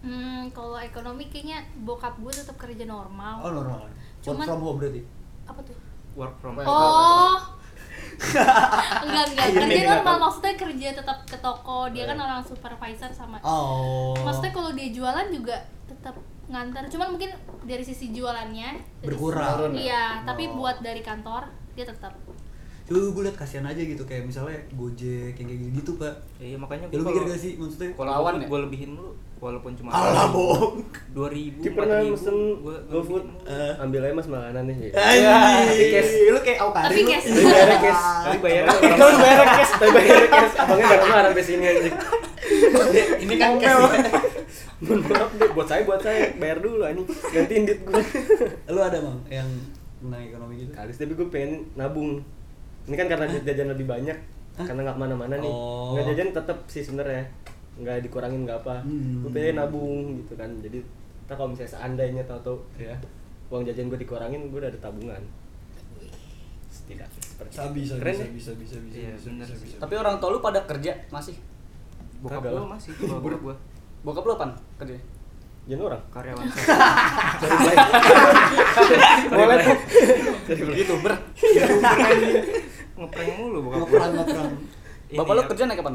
S4: Hmm, kalau ekonomi kayaknya bokap gue tetap kerja normal.
S1: Oh normal. Work
S4: Oh. Cuman-
S1: from home berarti.
S5: Oh.
S4: Apa tuh?
S2: work from
S5: Well,
S4: Oh, enggak enggak
S2: Iya,
S4: kerja
S2: iya,
S4: normal
S2: iya.
S4: maksudnya kerja tetap ke toko dia kan orang supervisor sama
S1: Iya. Oh.
S4: maksudnya kalau dia jualan juga tetap ngantar cuman mungkin dari sisi jualannya dari
S1: Berkurang.
S4: sisi-
S1: Oh. Ah.
S4: iya tapi buat dari kantor dia tetap
S1: Cuma gue liat kasihan aja gitu kayak misalnya Gojek yang kayak gitu pak.
S2: Iya makanya
S1: Ya
S2: gue
S1: lu mikir gak sih maksudnya?
S2: Kalau
S5: Lawan
S2: awan
S5: ya?
S2: gue lebihin lu walaupun cuma
S1: Alah bohong.
S2: dua ribu
S3: Dia pernah mesen
S2: gue
S3: GoFood,
S1: Eh.
S3: ambil aja mas makanan nih.
S1: Anjing.
S3: cash.
S1: Lu kayak oh,
S4: Tapi cash.
S1: Lu
S3: Bayar
S1: bayarnya
S3: cash.
S1: cash.
S2: Tapi bayar
S3: Kalau bayar cash, tapi bayar cash. Abangnya nggak marah sampai sini aja.
S5: ini kan cash
S3: Mohon maaf deh, buat saya, buat saya bayar dulu anjing. Gantiin duit gue.
S1: Lu ada mang yang tentang ekonomi gitu?
S3: Kalis tapi gue pengen nabung. Ini kan karena duit jajan lebih banyak, karena nggak kemana-mana nih.
S1: Oh.
S3: Nggak jajan tetap sih sebenarnya, nggak dikurangin nggak apa.
S1: Hmm.
S3: Gue pengen nabung gitu kan. Jadi, tak kalau misalnya seandainya tahu-tahu
S1: Ya.
S3: uang jajan gue dikurangin, gue udah ada tabungan. Setidaknya seperti itu.
S1: Sabi, sabi,
S3: Keren ya?
S1: sabi, sabi, sabi,
S2: Iya,
S1: sabi,
S2: bener
S1: sabi,
S2: sih.
S1: sabi.
S5: tapi orang tua lu pada kerja masih
S2: Bokap
S3: Kagak
S2: gue
S3: lah.
S2: masih bawa bokap gue
S5: bokap lu apaan kerja
S3: Jangan orang.
S2: karyawan
S3: Sorry, Blay.
S2: boleh tuh
S5: youtuber
S2: ngeprank mulu bokap gue
S1: Ngeperang, ngeperang. Iya,
S5: bapak lu kerja naik kapan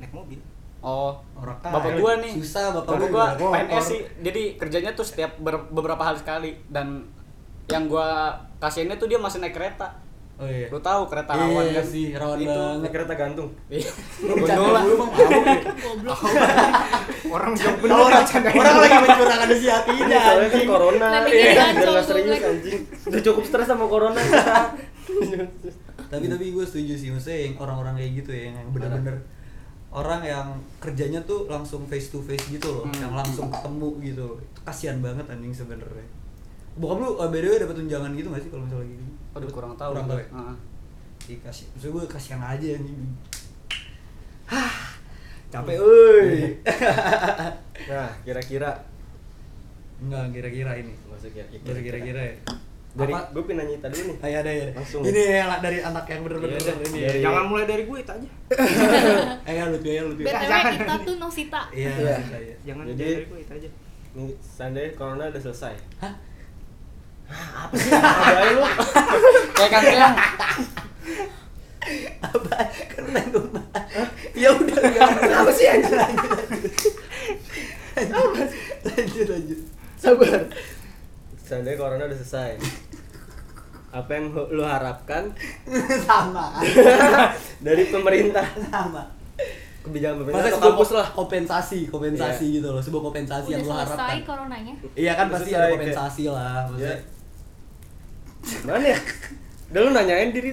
S2: naik mobil
S5: oh
S1: Orang kaya.
S5: Bapak gua nih.
S1: Susah bapak
S5: Bapak
S1: gua.
S5: gua
S1: juga.
S5: PNS sih. Jadi kerjanya tuh setiap ber- beberapa hari sekali dan yang gua kasihannya tuh dia masih naik kereta.
S1: Oh iya.
S5: Lu tahu kereta
S1: Iya,
S5: rawan
S1: iya
S5: kan?
S1: sih, rawan
S5: Itu.
S1: banget.
S3: Naik kereta gantung.
S5: Iya.
S1: Lu
S5: Gondol
S1: bercanda
S5: lah.
S1: dulu bang, mabuk ya.
S4: goblok
S2: orang yang bener
S1: Kalau orang,
S2: bercanda.
S1: orang lagi mencurahkan isi hatinya.
S3: Ini soalnya kan corona,
S4: Lah,
S3: iya
S4: iya,
S3: kan, biar nggak
S4: cowok
S3: serius
S4: goblok.
S3: anjing. Udah cukup stres sama corona.
S1: tapi tapi gue setuju sih maksudnya yang orang-orang kayak gitu ya yang yang bener-bener orang yang kerjanya tuh langsung face to face gitu loh
S5: Hmm.
S1: yang langsung ketemu gitu itu kasihan banget anjing sebenernya bokap lu eh, by the way dapat tunjangan gitu gak sih kalau misalnya gitu
S5: Aduh kurang tahu.
S1: kurang tahu ya?
S5: Heeh.
S1: Ih, kasih maksud gue kasihan aja anjing Hah, capek euy
S3: Nah, kira-kira
S1: enggak kira-kira ini
S3: masuk ya.
S1: dari kira-kira ya
S3: Dari
S1: Apa?
S3: gue pengen nanya tadi nih.
S1: Ah, iya, ada ya
S3: Langsung.
S1: ini ya dari anak yang bener-bener
S3: Iya,
S1: ini
S3: iya.
S1: ya
S2: jangan mulai dari gue itu aja
S1: eh ya Lutfi ya Lutfi
S4: btw
S2: jangan.
S4: kita tuh nosita
S1: iya
S3: Iya.
S1: iya.
S2: jangan
S3: Jadi-
S2: dari gue itu aja
S3: Nih, seandainya corona udah selesai.
S1: Hah?
S3: Hah, Apa sih? Ada aja lu.
S5: Kayak kan yang
S1: apa keren dong Pak. ya udah apa sih anjir lanjut lanjut lanjut lanjut
S3: Sabar. Seandainya corona udah selesai. Apa yang ho- lu harapkan
S1: sama
S3: dari pemerintah?
S1: sama
S3: Kebijakan pemerintah
S1: masa
S3: atau
S1: sebuah
S3: kampus lah.
S1: kompensasi kompensasi gitu loh sebuah kompensasi
S4: udah
S1: yang lo
S4: selesai
S1: harapkan
S4: coronanya
S1: iya kan
S3: Iya. Udah
S1: pasti
S3: selesai,
S1: ada kompensasi lah maksudnya
S3: Ya. Mana ya? Udah lu nanyain diri.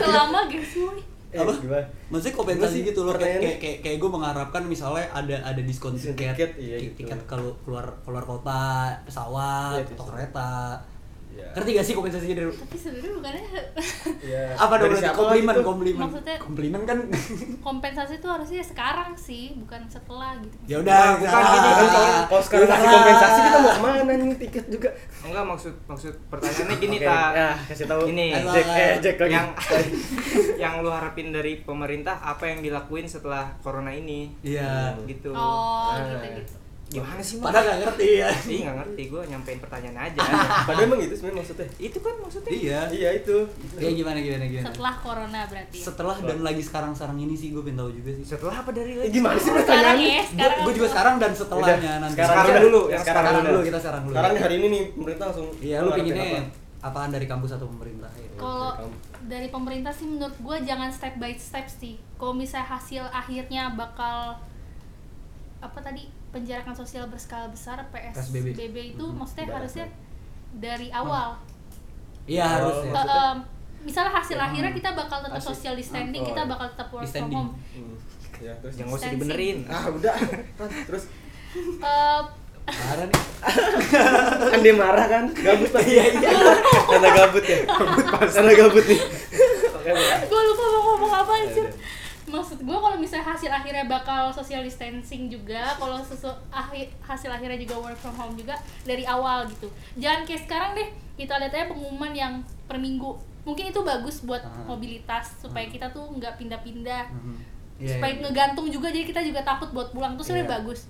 S4: selama guys mulai
S3: Eh,
S1: apa
S3: gimana?
S1: maksudnya kompensasi
S3: Gimana sih
S1: gitu loh kayak
S3: pertanyaannya?
S1: kayak kayak, gue mengharapkan misalnya ada ada diskon
S3: Diskon
S1: tiket
S3: tiket, iya
S1: ti-
S3: gitu.
S1: tiket kalau keluar keluar kota pesawat
S3: Iya, itu
S1: atau
S3: sih.
S1: kereta
S3: Iya.
S1: ngerti gak sih kompensasinya dari
S4: tapi sebenarnya bukannya
S3: Ya.
S1: apa dong
S3: Dari
S1: berarti
S3: siapa
S1: komplimen
S3: gitu?
S1: komplimen
S4: Maksudnya-
S1: komplimen kan
S4: kompensasi tuh harusnya ya sekarang sih bukan setelah gitu
S1: ya udah
S2: bukan gini,
S3: Kan Nah, kalau kalau sekarang kasih kompensasi kita mau kemana nih tiket juga?
S2: enggak maksud maksud pertanyaannya gini
S3: Oke,
S2: tak
S3: ya, kasih tahu.
S2: Gini.
S3: Jack, eh, Jack lagi.
S2: yang yang lu harapin dari pemerintah apa yang dilakuin setelah corona ini
S1: iya
S2: gitu
S4: oh
S3: Ah.
S4: gitu gitu
S2: gimana sih Mak?
S1: padahal gak ngerti ya
S2: Ih nggak ngerti gue nyampein pertanyaan aja
S3: Padahal emang gitu sebenarnya maksudnya.
S2: itu kan maksudnya
S1: iya
S3: Iya itu.
S1: ya gimana gimana gimana
S4: setelah corona berarti ya.
S1: setelah dan lagi sekarang sekarang ini sih gue pengen tahu juga sih
S2: setelah apa dari
S3: Eh,
S2: lagi
S3: gimana sih
S4: sekarang
S3: pertanyaannya?
S4: ya sekarang
S1: gue juga sekarang dan setelahnya nanti
S3: Iya, Sekarang,
S2: Sekarang
S3: udah.
S2: dulu,
S3: Ya,
S2: yang
S3: sekarang,
S1: sekarang
S3: dulu.
S1: dulu, kita sekarang dulu.
S3: Sekarang nih, hari ini nih pemerintah langsung.
S1: iya lu
S3: ngarepin
S1: pinginnya
S3: apa?
S1: apaan dari kampus atau pemerintah ya.
S4: kalau dari pemerintah sih menurut gue jangan step by step sih kalau misalnya hasil akhirnya bakal apa tadi penjarakan sosial berskala besar PSBB,
S1: PSBB
S4: itu
S1: Mhm,
S4: maksudnya
S3: ibaratnya.
S4: harusnya dari awal
S1: iya
S3: Oh,
S1: harus ya
S3: maksudnya?
S4: Eh, em, misalnya hasil akhirnya kita bakal tetap
S3: Hasil.
S4: social distancing
S3: Oh,
S4: kita
S3: iya.
S4: bakal tetap work from
S1: Standing.
S4: home
S3: Hmm. Ya, terus
S2: jangan usah
S4: Distancing.
S2: dibenerin
S3: Ah, udah. terus
S4: Eh,
S1: parah nih
S3: kan dia marah kan? Gabut pasti. Iya, iya. Karena gabut ya. Gabut pasti. Karena gabut nih. Oke, Bang.
S4: gue lupa mau ngomong apa
S1: Iya,
S3: Ya
S4: aja
S3: udah.
S4: maksud gue kalau misalnya hasil akhirnya bakal social distancing juga kalau sesu akhir hasil akhirnya juga work from home juga dari awal gitu jangan kayak sekarang deh kita lihat aja pengumuman yang per minggu mungkin itu bagus buat
S1: Ah.
S4: mobilitas supaya kita tuh nggak pindah-pindah
S1: Mhm. Iya,
S4: supaya
S1: iya.
S4: ngegantung juga jadi kita juga takut buat pulang tuh
S1: Iya.
S4: sebenarnya
S1: Hmm.
S4: bagus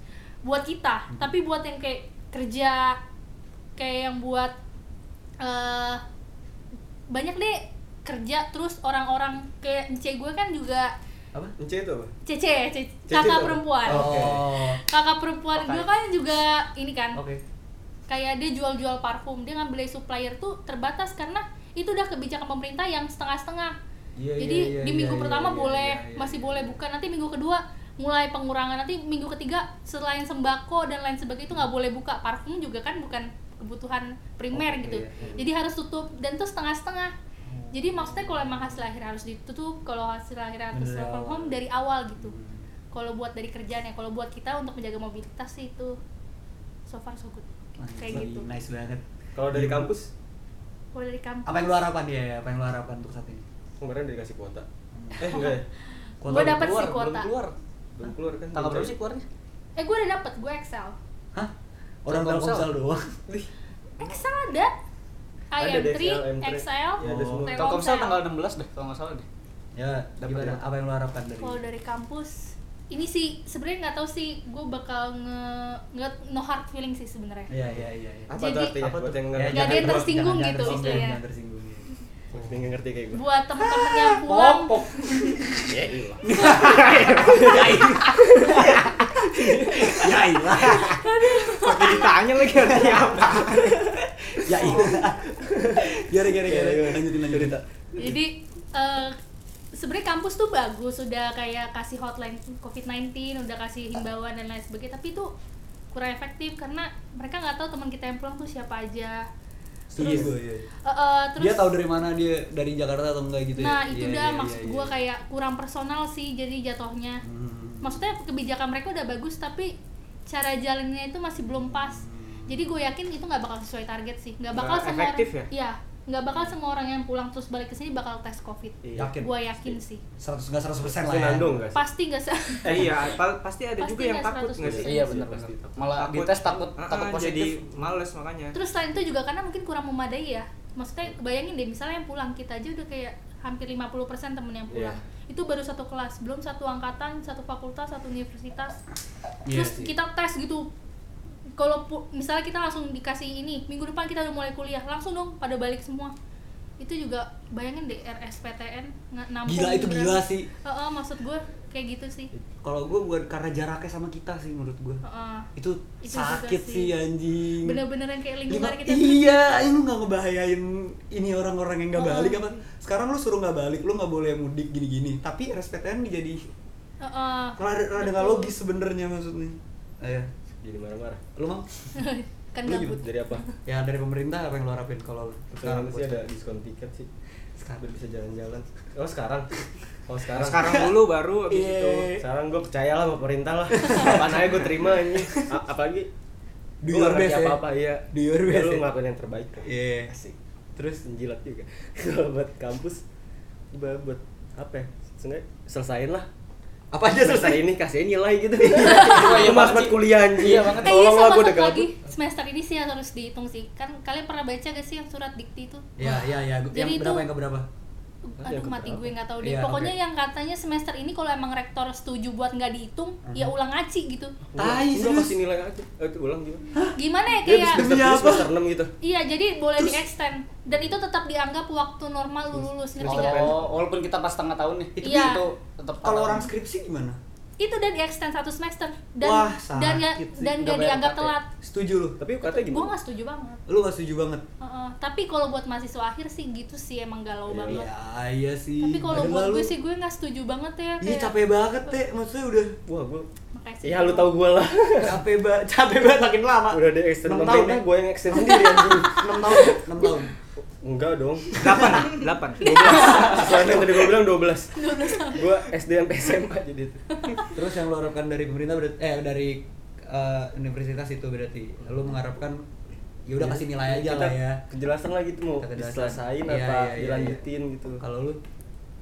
S4: buat kita tapi buat yang kayak kerja kayak yang buat eh banyak deh kerja terus orang-orang kayak cewek gue kan juga
S1: apa
S3: Ence itu apa?
S4: cece, cece
S3: Cece
S4: kakak
S3: tuh.
S4: perempuan
S1: oh
S4: kakak perempuan gue kan juga ini kan
S1: oke
S4: kayak dia jual-jual parfum dia ngambil dari supplier tuh terbatas karena itu udah kebijakan pemerintah yang setengah-setengah
S1: Iya,
S4: jadi
S1: iya, iya,
S4: di minggu
S1: iya,
S4: pertama
S1: iya,
S4: boleh
S1: iya, iya.
S4: masih boleh buka nanti minggu kedua mulai pengurangan nanti minggu ketiga selain sembako dan lain sebagainya itu nggak boleh buka parfum juga kan bukan kebutuhan primer
S1: Oke,
S4: gitu
S1: iya, iya.
S4: jadi harus tutup dan tuh setengah-setengah jadi maksudnya kalau emang hasil akhir harus ditutup kalau hasil akhir harus
S1: Bener,
S4: work from
S1: awal.
S4: home dari awal gitu kalau buat dari kerjaan ya kalau buat kita untuk menjaga mobilitas sih itu so far so good kayak gitu
S1: nice banget Iya.
S3: Kalau dari kampus
S4: kalau dari kampus
S1: apa yang lu harapkan ya apa yang lu harapkan untuk saat ini
S3: kemarin udah dikasih kuota. Eh enggak ya?
S1: Kuota
S4: Gua
S1: lu-
S4: dapet
S5: keluar,
S4: sih kuota.
S5: belum keluar.
S3: Belum keluar kan?
S5: Tanggal berapa
S3: Belum
S5: sih keluarnya?
S4: eh gue udah dapet gue Excel
S1: hah orang
S5: Telkomsel.
S1: telkomsel doang
S3: Wih,
S4: Excel ada
S3: Ada
S4: IM3,
S3: DSL, M3.
S4: Excel,
S3: Ya,
S1: Oh.
S3: ada semua.
S5: Telkomsel tanggal 16 deh, kalau nggak salah deh.
S1: ya
S3: Dapet
S1: gimana
S3: dapet.
S1: apa yang lu harapkan dari
S4: Kalau dari kampus, ini sih sebenarnya nggak tahu sih, gue bakal nge, nge no hard feeling sih sebenarnya.
S1: iya iya iya iya.
S3: Apa
S4: Jadi-
S3: tuh artinya?
S1: Apa
S3: Buat
S1: tuh?
S3: yang
S1: Ya,
S3: ngerti
S4: Nggak ada yang
S1: jangan-
S4: tersinggung
S1: jangan-
S4: gitu
S1: jangan tersinggung,
S4: istilahnya.
S1: jangan tersinggung, iya.
S3: Mungkin nggak ngerti kayak gue.
S4: Buat temen-temen yang pulang,
S3: Ya iya.
S1: ya ilah
S2: Pakai ditanya lagi artinya
S3: Iya.
S2: apa?
S1: ya Iya, ilah gara gara gara lanjutin lanjutin
S4: jadi eh, sebenarnya kampus tuh bagus, sudah kayak kasih hotline COVID-19, udah kasih himbauan dan lain sebagainya, tapi itu kurang efektif karena mereka nggak tahu teman kita yang pulang tuh siapa aja.
S1: iya gue iya
S4: Eh, eh, terus
S1: dia tahu dari mana dia dari Jakarta atau enggak gitu ya?
S4: Nah, itu
S1: Iya,
S4: dah
S1: iya,
S4: maksud
S1: iya,
S4: gua
S1: iya.
S4: kayak kurang personal sih jadi jatuhnya.
S1: Hmm.
S4: Maksudnya kebijakan mereka udah bagus tapi cara jalannya itu masih belum pas. Jadi gue yakin itu nggak bakal sesuai target sih. Nggak bakal
S2: Nggak
S4: semua
S2: efektif
S4: orang
S2: ya?
S4: Iya, nggak bakal semua orang yang pulang terus balik ke sini bakal tes Covid.
S1: Iya. yakin
S4: Gue yakin sih.
S1: seratus nggak seratus persen lah
S3: Pasti
S1: ya
S3: nandung nggak sih?
S4: Pasti nggak se-
S2: Eh, iya, pa- pasti ada
S4: Pasti
S2: juga yang
S4: nggak
S2: takut nggak sih?
S4: 100%.
S5: Iya benar benar.
S3: Pasti takut.
S5: Malah dites takut
S2: Ah, ah,
S5: takut
S2: Jadi
S5: positif.
S2: males makanya.
S4: Terus selain itu juga karena mungkin kurang memadai ya. Maksudnya bayangin deh misalnya yang pulang kita aja udah kayak hampir 50% temen yang pulang. Itu baru satu kelas, belum satu angkatan, satu fakultas, satu universitas.
S1: Iya
S4: Terus
S1: sih.
S4: kita tes gitu. Kalau pu- misalnya kita langsung dikasih ini, minggu depan kita udah mulai kuliah, langsung dong pada balik semua. Itu juga bayangin deh RSPTN nge- nampung
S1: Gila, itu
S4: berapa-
S1: gila sih.
S4: Heeh, maksud gue kayak gitu sih.
S1: kalau gue bukan karena jaraknya sama kita sih menurut gue
S4: Heeh.
S1: itu,
S4: Itu juga
S1: sakit
S4: sih.
S1: sih. anjing
S4: Bener-bener yang kayak
S1: Lima-
S4: lingkungan kita
S1: iya, ini lu gak ngebahayain ini orang-orang yang gak
S4: Heeh.
S1: balik apa? Sekarang lu suruh gak balik, lu gak boleh mudik gini-gini. Tapi RSPTN jadi
S4: Heeh.
S1: rada rada gak logis sebenarnya maksudnya. Ayo,
S3: Jadi marah-marah.
S1: lu mang?
S4: kan
S1: Lu
S4: gabut.
S3: Dari apa?
S1: Ya dari pemerintah apa yang lu harapin kalau lu
S3: Sekarang sih
S1: buat-
S3: ada diskon tiket sih.
S1: Sekarang.
S3: Biar bisa jalan-jalan. Oh sekarang? Oh sekarang.
S2: Sekarang dulu baru abis
S1: Iya.
S2: itu.
S3: Sekarang gue percaya lah sama pemerintah lah. Apaan aja gue terima ini. A- apalagi
S1: Do
S3: gua
S1: your
S3: nggak ngerti
S1: best, ya.
S3: apa-apa iya.
S1: Do your best,
S3: Lu
S1: ya.
S3: ngelakuin yang terbaik. lah.
S1: Iya.
S3: Asik. Terus menjilat juga. Kalau buat kampus gua buat apa ya? Sebenarnya selesain lah.
S1: Apa aja selesai?
S3: Selesai ini kasih nilai gitu.
S5: iya
S3: Itu
S5: banget
S3: mas buat
S5: sih.
S3: kuliah anjing.
S5: Iya banget.
S4: Eh iya
S3: Tolong lah
S4: sama
S3: gue udah
S4: satu lagi
S3: gabut.
S4: semester ini sih yang harus dihitung sih kan kalian pernah baca gak sih yang surat dikti itu?
S1: Ya, ya, ya.
S4: Jadi
S1: Yang
S4: itu-
S1: berapa yang keberapa?
S4: Aduh
S3: yang
S4: mati
S3: keberapa?
S4: gue nggak tahu deh.
S1: Iya,
S4: Pokoknya
S1: oke.
S4: yang katanya semester ini kalau emang rektor setuju buat nggak dihitung ya
S1: Mhm.
S4: ulang ngaci gitu.
S1: Tai,
S3: Udah
S1: serius?
S3: kasih nilai aja. Eh, itu ulang juga.
S4: Gimana
S1: Iya,
S4: ya
S3: Dia di
S4: kayak?
S3: semester,
S1: Demi
S3: di
S1: apa?
S3: semester 6 gitu.
S4: Iya jadi boleh di extend dan itu tetap dianggap waktu normal lu lulus ngerti nggak?
S5: Oh, walaupun kita pas setengah tahun nih.
S4: Itu Iya.
S5: Itu tetap
S1: Kalau
S5: tahun.
S1: orang skripsi gimana?
S4: Itu dan di extend satu semester dan
S1: Wah,
S4: dan nggak
S1: sakit sih.
S4: dan
S5: Nggak
S4: nggak
S5: bayar
S4: dianggap
S5: pakai.
S4: telat.
S1: Setuju lu?
S3: Tapi katanya
S4: Gue
S3: gimana?
S4: nggak setuju banget.
S1: Lu gak setuju banget?
S4: Heeh. Tapi kalau buat mahasiswa akhir sih gitu sih emang galau banget.
S1: Ya, iya sih.
S4: Tapi kalau
S1: Padahal
S4: buat gue
S1: lu-
S4: sih gue nggak setuju banget ya.
S1: Iya
S4: kayak-
S1: capek banget teh, maksudnya udah
S3: Wah, gue
S4: Makasih.
S3: Ya lu tau gue lah.
S1: capek banget, capek banget makin lama.
S3: Udah di extend
S1: Enam tahun
S3: pemerintah,
S1: ya?
S3: gue yang extend sendiri anjing.
S1: 6 tahun, 6 tahun.
S3: Enggak dong.
S2: Delapan, delapan.
S3: 12. Soalnya yang tadi gue bilang 12.
S4: 12 tahun.
S3: Gue SD sampai SMA jadi itu.
S1: Terus yang lo harapkan dari pemerintah berarti eh dari eh, universitas itu berarti lo mengharapkan ya
S5: Iya.
S1: udah kasih nilai aja
S3: Kita
S1: lah ya.
S3: Kejelasan lah gitu mau
S1: Kita jelasin.
S3: diselesain
S1: Iya,
S3: apa
S1: iya, iya,
S3: dilanjutin
S1: iya.
S3: gitu.
S1: Kalau lu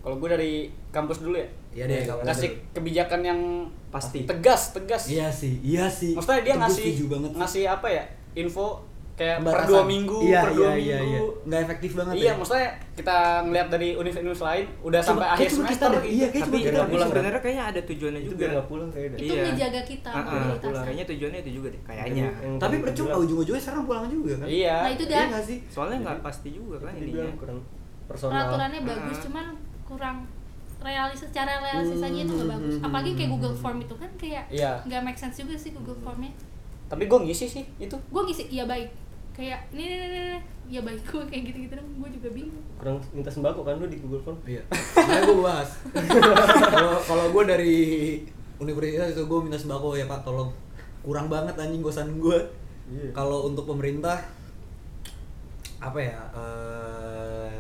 S5: Kalau gue dari kampus dulu ya.
S1: Iya deh, kampus
S5: Kasih
S1: dulu.
S5: kebijakan yang
S3: Pasti.
S5: Tegas, tegas.
S1: iya sih, iya sih.
S5: Maksudnya dia
S1: Itu gua
S5: ngasih
S1: setuju banget. sih.
S5: ngasih apa ya? Info kayak per
S1: Pembatasan.
S5: dua minggu,
S1: iya,
S5: per dua
S1: iya, iya,
S5: minggu.
S1: Iya, Nggak efektif banget
S5: Iya,
S1: ya.
S5: maksudnya kita ngelihat dari universitas lain udah
S1: Cuma-
S5: sampai
S1: kayak
S5: akhir
S1: cuma kita
S5: semester gitu.
S1: deh. Iya, kayak
S2: Tapi
S1: cuma
S2: itu
S1: kita
S3: pulang.
S2: sebenarnya kayaknya ada tujuannya
S3: Itu
S2: juga.
S3: biar nggak pulang ya? kayaknya deh.
S4: Itu
S2: Iya.
S4: menjaga kita,
S2: Ah, ah,
S4: mobilitasnya.
S2: pulang. Kayaknya tujuannya itu juga deh. Kayaknya.
S3: Yang-
S1: Tapi percuma
S3: Bilang.
S1: ujung-ujungnya sekarang pulang juga kan.
S5: Iya.
S4: Nah, itu
S1: Iya
S4: dah.
S1: nggak sih?
S2: Soalnya nggak pasti juga kan
S3: Itu
S2: ini.
S3: dibilang kurang personal
S4: peraturannya bagus cuman kurang realis secara realisasinya itu nggak bagus apalagi kayak Google Form itu kan kayak
S5: Iya.
S4: nggak make sense juga sih Google Formnya
S5: Tapi gue ngisi sih itu.
S4: gue ngisi iya baik kayak ini ini ini ini, iya baik gue kayak gitu gitu gue juga bingung
S3: kurang minta sembako kan lu di Google Form
S1: Iya. Makanya gue bahas. Kalau kalau gue dari universitas itu gue minta sembako ya Pak, tolong. Kurang banget anjing gosan gue.
S3: Iya.
S1: Kalau untuk pemerintah apa ya? eh,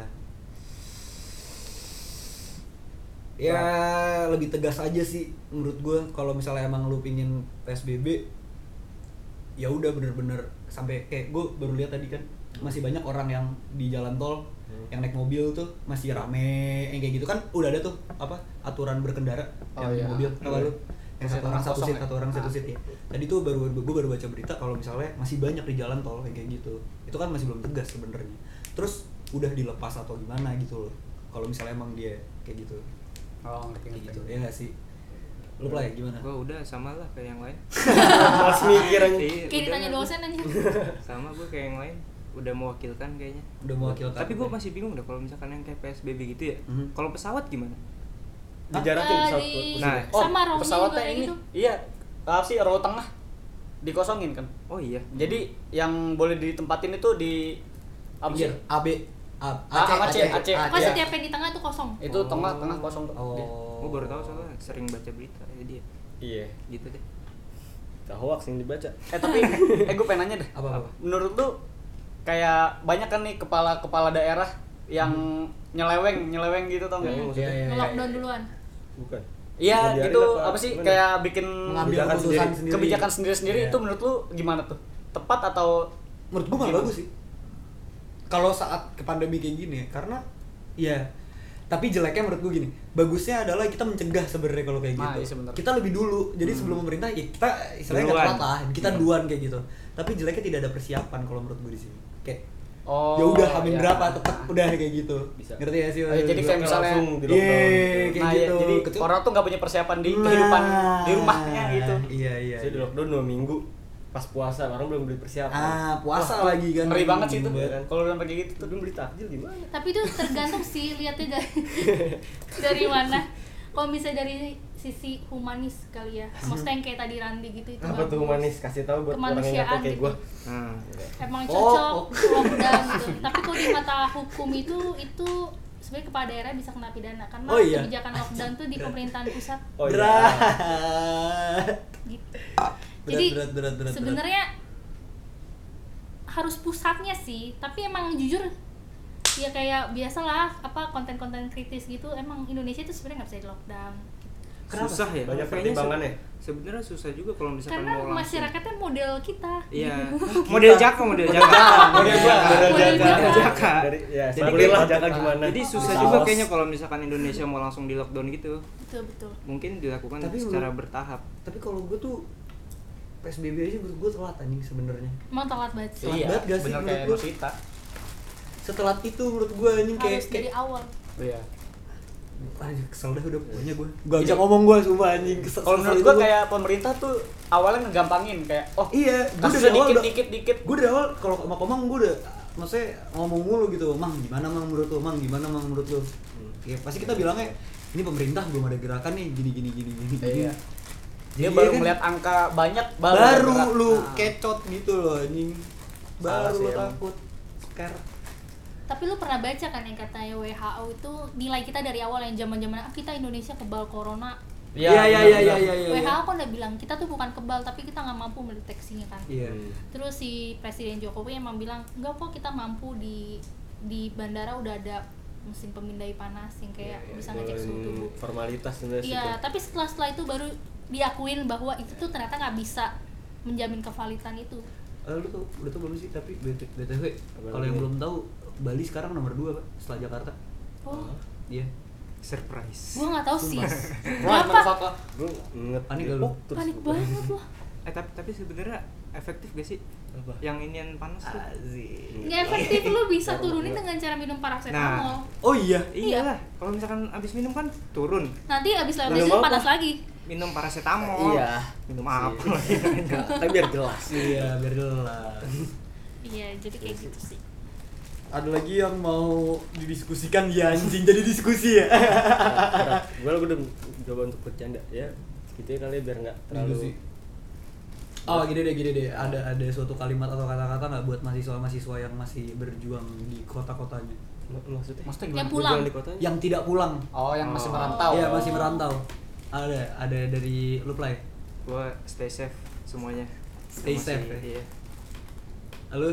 S1: ya
S5: Nah.
S1: lebih tegas aja sih menurut gue kalau misalnya emang lu pingin PSBB ya udah bener-bener sampai kayak gue baru lihat tadi kan masih banyak orang yang di jalan tol
S5: Hmm.
S1: yang naik mobil tuh masih rame yang kayak gitu kan udah ada tuh apa aturan berkendara
S5: Oh,
S1: yang
S5: iya.
S1: mobil apa lu yang satu orang satu
S5: Kosong
S1: seat
S5: ya?
S1: satu orang satu
S5: Ah.
S1: seat ya tadi tuh baru gue baru baca berita kalau misalnya masih banyak di jalan tol kayak gitu itu kan masih belum tegas sebenarnya terus udah dilepas atau gimana gitu loh kalau misalnya emang dia kayak gitu
S5: Oh, ngerti
S1: kayak gitu ya nggak sih lu play gimana
S2: Gua udah sama lah kayak yang lain.
S3: Malas mikir anjing.
S2: Iya,
S4: kayak
S2: udah
S4: ditanya
S2: lah.
S4: dosen aja
S2: Sama gua kayak yang lain. Udah mewakilkan kayaknya.
S1: Udah mewakilkan.
S2: Tapi gua masih bingung dah kalau misalkan yang kayak PSBB gitu ya.
S1: Mhm.
S2: Kalau pesawat gimana?
S3: dijarakin
S4: Eh,
S3: pesawat
S4: di-
S3: nah.
S2: Nah.
S5: Oh,
S4: Sama Romi juga
S5: pesawatnya
S4: kayak
S5: ini.
S4: gitu.
S5: Iya. Apa sih row tengah dikosongin kan?
S2: Oh iya.
S5: Jadi yang boleh ditempatin itu di apa sih?
S1: Pinggir. A B A
S5: Iya. A- AC, AC.
S4: kok
S5: Iya.
S4: setiap yang di tengah tuh kosong
S5: Itu tengah-tengah kosong tuh.
S1: Oh.
S2: Gua baru tahu soalnya sering baca berita jadi ya
S3: iya
S2: gitu deh.
S3: kita hoax yang dibaca
S5: Eh tapi eh gue pengen nanya deh.
S1: Apa, apa?
S5: Menurut lu kayak banyak kan nih kepala-kepala daerah yang
S1: Hmm.
S5: nyeleweng nyeleweng gitu tau nggak?
S3: Iya,
S5: Iya,
S3: maksudnya.
S1: Iya, iya, iya.
S4: lockdown duluan
S3: bukan Ngebiarin
S5: gitu
S3: apa
S5: apa, sih
S3: gimana?
S5: kayak bikin
S1: mengambil
S3: Kebijakan
S1: keputusan
S3: sendiri.
S1: sendiri
S5: kebijakan sendiri-sendiri
S1: Iya.
S5: itu menurut lu gimana tuh? Tepat atau
S1: menurut gue malah bagus sih kalau saat ke pandemi kayak gini ya, karena ya tapi jeleknya menurut gue gini bagusnya adalah kita mencegah sebenarnya kalau kayak
S5: Nah,
S1: gitu
S5: iya sebenarnya.
S1: kita lebih dulu jadi sebelum pemerintah ya kita istilahnya nggak
S2: Duluan.
S1: telat lah kita duluan kayak gitu tapi jeleknya tidak ada persiapan kalau menurut gue di sini kayak
S5: Oh,
S1: ya udah hamin
S5: iya.
S1: berapa tetap udah kayak gitu
S3: Bisa.
S1: ngerti ya sih
S5: Oh, iya, jadi
S1: maksud
S5: kayak
S1: gue?
S5: misalnya-
S3: langsung di
S1: Yeay,
S3: lockdown
S1: kayak
S5: Nah, iya,
S1: gitu
S5: jadi
S1: Kecuali-
S5: orang tuh nggak punya persiapan di
S1: Nah,
S5: kehidupan di rumahnya gitu.
S1: iya iya,
S3: Nah, saya di
S1: iya.
S3: lockdown dua minggu pas puasa orang belum beli persiapan
S1: ah puasa lagi kan
S5: Ngeri banget sih itu.
S1: Bener.
S5: Kalau udah kayak gitu
S3: itu
S5: tuh.
S3: belum beli takjil gimana
S4: tapi itu tergantung sih lihatnya dari dari mana kalau misalnya dari sisi humanis kali ya maksudnya yang kayak tadi Randi gitu itu
S3: apa tuh
S4: bagus.
S3: manis kasih tahu buat orang yang nggak
S4: Kemanusiaan
S3: tahu kayak
S4: gitu.
S3: gua
S2: Nah,
S4: emang
S1: Oh,
S4: cocok
S1: oh.
S4: lockdown gitu tapi kalau di mata hukum itu itu sebenarnya kepala daerah bisa kena pidana karena
S1: Oh, iya.
S4: kebijakan lockdown tuh di pemerintahan pusat
S3: oh iya
S1: berat
S4: gitu
S1: Berat,
S4: jadi
S1: berat, berat, berat,
S4: sebenarnya harus pusatnya sih tapi emang jujur ya kayak biasalah apa konten-konten kritis gitu emang Indonesia itu sebenarnya nggak bisa di lockdown
S1: Kenapa?
S2: susah ya.
S3: Banyak
S2: Kayaknya
S3: pertimbangan ya?
S2: se- Sebenarnya susah juga kalau misalkan
S4: karena
S2: mau langsung.
S4: masyarakatnya model kita
S2: Iya. model jaka, model jaka.
S3: Model Jaka.
S4: Model Jaka.
S3: Model Jaka.
S2: Dari-
S3: ya,
S2: Jadi
S3: sampulin lah
S2: kayak-
S3: Jaka gimana.
S2: Jadi susah
S3: Di
S2: juga
S3: saus.
S2: kayaknya kalau misalkan Indonesia mau langsung di lockdown gitu.
S4: betul betul
S2: Mungkin dilakukan
S1: Tapi
S2: secara
S1: menurut-
S2: bertahap.
S1: tapi kalau gue tuh psbb aja menurut gue telat anjing sebenarnya
S4: emang telat banget sih
S1: Telat banget gak sih
S5: Iya, bener
S1: menurut
S5: kayak
S1: lu?
S5: Rosita.
S1: setelat itu menurut gue anjing kayak
S4: harus dari awal
S5: Iya.
S1: anjing kesel dah udah pokoknya gue gak bisa
S5: Jadi-
S1: ngomong gue sumpah anjing kesel
S5: Iya. Kalau menurut gua kayak pemerintah tuh awalnya ngegampangin kayak oh
S1: iya gue
S5: kasusnya
S1: dari awal
S5: dikit,
S1: udah
S5: dikit, dikit.
S1: gue dari awal kalau sama komang gue udah maksudnya ngomong mulu gitu mang gimana mang menurut lu mang gimana mang menurut lu
S5: Hmm.
S1: ya pasti kita bilangnya ini pemerintah belum ada gerakan nih gini gini gini gini gini."
S5: Iya. dia
S1: Jadi,
S5: baru
S1: ya kan?
S5: melihat angka banyak baru
S1: baru,
S5: bergerak.
S1: lu
S5: Nah.
S1: kecot gitu loh anjing
S5: Salah
S1: baru
S5: sih
S1: lu
S5: emang.
S1: takut sekarang
S4: tapi lu pernah baca kan yang katanya WHO itu nilai kita dari awal yang zaman zaman ah kita Indonesia kebal corona
S5: Iya,
S1: Iya, iya,
S5: benar,
S1: iya, iya,
S5: benar.
S1: iya, iya.
S4: WHO kan udah bilang kita tuh bukan kebal tapi kita nggak mampu mendeteksinya kan
S1: Iya.
S5: Hmm.
S4: terus si Presiden Jokowi emang bilang enggak kok kita mampu di di bandara udah ada mesin pemindai panas yang
S3: Iya,
S4: kayak bisa ngecek suhu
S3: Cuman
S4: tubuh
S3: formalitas sebenarnya iya. sih
S4: Iya, tapi setelah setelah itu baru diakuin bahwa itu tuh ternyata nggak bisa menjamin kevalitan itu.
S1: Eh, lu tuh udah tuh belum sih tapi BT BTW
S3: Apa
S1: kalau yang
S3: lagi?
S1: belum tahu Bali sekarang nomor 2 Pak setelah Jakarta.
S4: Oh,
S1: Iya.
S2: Surprise.
S4: gua nggak tahu sih. Kenapa?
S5: Wah, motherfucker.
S3: gue nget
S1: Panik
S3: di
S1: gak lu?
S3: pok oh, terus
S4: Panik
S3: gua.
S4: banget loh.
S2: Eh tapi tapi sebenarnya efektif gak sih?
S3: Apa?
S2: Yang inian panas tuh.
S4: Nggak efektif lu bisa turunin dengan cara minum paracetamol.
S2: Nah.
S1: Oh iya.
S2: Iyalah, kalau misalkan abis minum kan turun.
S4: Nanti abis lewat
S3: Minum
S4: itu
S3: apa?
S4: panas lagi.
S2: Minum paracetamol.
S5: Iya.
S2: Minum apa lagi?
S3: Enggak, tapi biar Iya. jelas
S1: Iya, biar jelas.
S4: Iya, jadi kayak gitu sih.
S2: Ada lagi yang mau didiskusikan ya anjing jadi diskusi ya.
S3: gue udah coba untuk bercanda ya gitu ya kali biar nggak
S1: Diskusi.
S3: terlalu
S1: Oh gini deh gini deh ada ada suatu kalimat atau kata-kata nggak buat mahasiswa-mahasiswa yang masih berjuang di kota-kotanya
S3: M- maksudnya
S5: Maksudnya
S4: Yang
S5: gimana?
S4: Ya, pulang.
S3: Berjuang di kotanya
S1: yang tidak pulang
S5: Oh, yang masih
S2: Oh.
S5: merantau.
S1: Iya masih merantau ada ada dari lu play
S2: Gue stay safe semuanya.
S1: Stay
S2: Masih-
S1: safe, ya?
S2: Iya.
S1: lu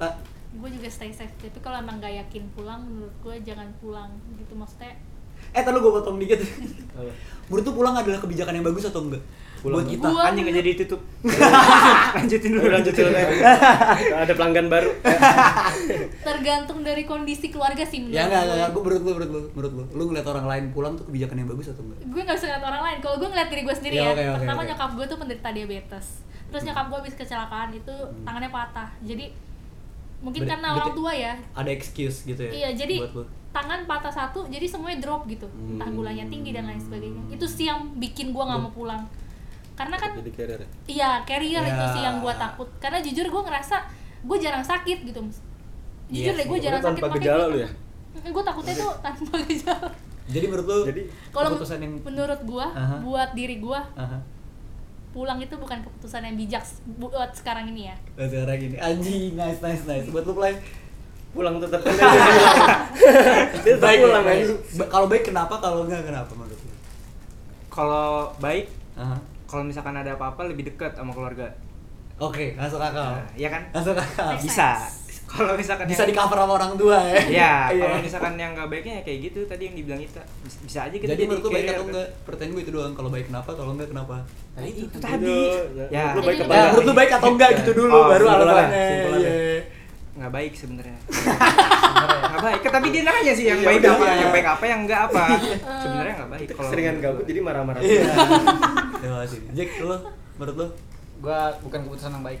S1: tak
S4: gue juga stay safe tapi kalau emang gak yakin pulang menurut gue jangan pulang gitu maksudnya
S1: eh tadi gue potong dikit
S3: Apa?
S1: menurut tuh pulang adalah kebijakan yang bagus atau enggak
S3: Pulang.
S1: buat kita
S4: Gua-
S2: Anjing gak jadi ditutup. lanjutin dulu,
S3: Udah lanjut
S2: lanjutin dulu.
S3: ada pelanggan baru
S4: tergantung dari kondisi keluarga sih menurut
S1: ya enggak enggak, enggak
S4: gue
S1: Gua menurut lu menurut lu menurut lu lu ngeliat orang lain pulang tuh kebijakan yang bagus atau enggak
S4: gue nggak bisa ngeliat orang lain kalau gue ngeliat diri gue sendiri
S1: Ya,
S4: ya,
S1: oke, oke, Hmm.
S4: pertama
S1: oke.
S4: nyokap gue tuh penderita diabetes terus nyokap gue habis kecelakaan itu tangannya patah jadi mungkin
S1: Hmm. Ber-
S4: karena orang
S1: berarti-
S4: tua ya
S1: ada excuse gitu ya
S4: Iya, jadi
S1: buat lu
S4: tangan patah satu, jadi semuanya drop gitu. Entah gulanya tinggi dan lain sebagainya. Itu sih yang bikin gua nggak mau pulang. Karena kan
S3: jadi carrier ya?
S4: iya, carrier itu
S1: Ya.
S4: sih yang gua takut. Karena jujur gua ngerasa gua jarang sakit gitu. Mas. Jujur
S1: Iya
S4: deh gua
S3: sih.
S4: jarang
S3: Lu
S4: sakit
S3: tanpa
S4: makanya
S3: gejala
S4: gua-
S3: lu ya?
S4: Mm, Gua takutnya tuh tanpa gejala.
S1: jadi menurut lu
S3: jadi
S4: Kalau
S1: keputusan yang
S4: menurut gua
S1: Aha.
S4: buat diri gua
S1: Aha.
S4: pulang itu bukan keputusan yang bijak buat sekarang ini ya.
S1: Nah, sekarang gini anjing nice nice nice buat lu play
S3: pulang tetap kan dia tetap pulang
S1: ya?
S3: aja
S1: Ba- kalau baik kenapa kalau enggak kenapa menurut lu
S2: Kalau baik,
S1: Aha.
S2: kalau misalkan ada apa-apa lebih dekat sama keluarga.
S1: Oke, masuk akal.
S2: Nah, Iya kan?
S1: Masuk akal.
S4: Make
S2: Bisa.
S4: sense.
S2: Kalau misalkan
S1: Bisa
S2: yang-
S1: di cover sama orang tua ya.
S2: Ya,
S1: Iya.
S2: kalau misalkan yang nggak baiknya ya kayak gitu tadi yang dibilang kita Bis- bisa aja kita
S1: Jadi menurut lu baik
S2: carrier,
S1: atau
S2: kan?
S1: enggak? Pertanyaan gue itu doang. Kalau baik kenapa, kalau enggak kenapa?
S2: Nah, itu,
S3: Itu
S2: tadi.
S3: dulu.
S2: Ya,
S3: Lu
S4: baik apa
S1: Ya,
S4: enggak?
S1: menurut lu baik atau enggak gitu dulu,
S2: Oh,
S1: baru
S2: simpelan ya,
S1: alasannya.
S2: simpelan ya.
S1: Iya.
S2: nggak baik sebenarnya. Nggak baik. Tapi dia nanya sih yang
S1: Iya,
S2: baik
S1: udah,
S2: apa,
S1: iya.
S2: yang baik apa, yang enggak apa. Sebenarnya nggak baik. Kalau gitu.
S3: seringan
S2: menurut
S3: gabut
S2: gua.
S3: jadi marah-marah
S1: Iya. Terima kasih. Jack, lu menurut lu?
S5: Gua bukan keputusan yang baik.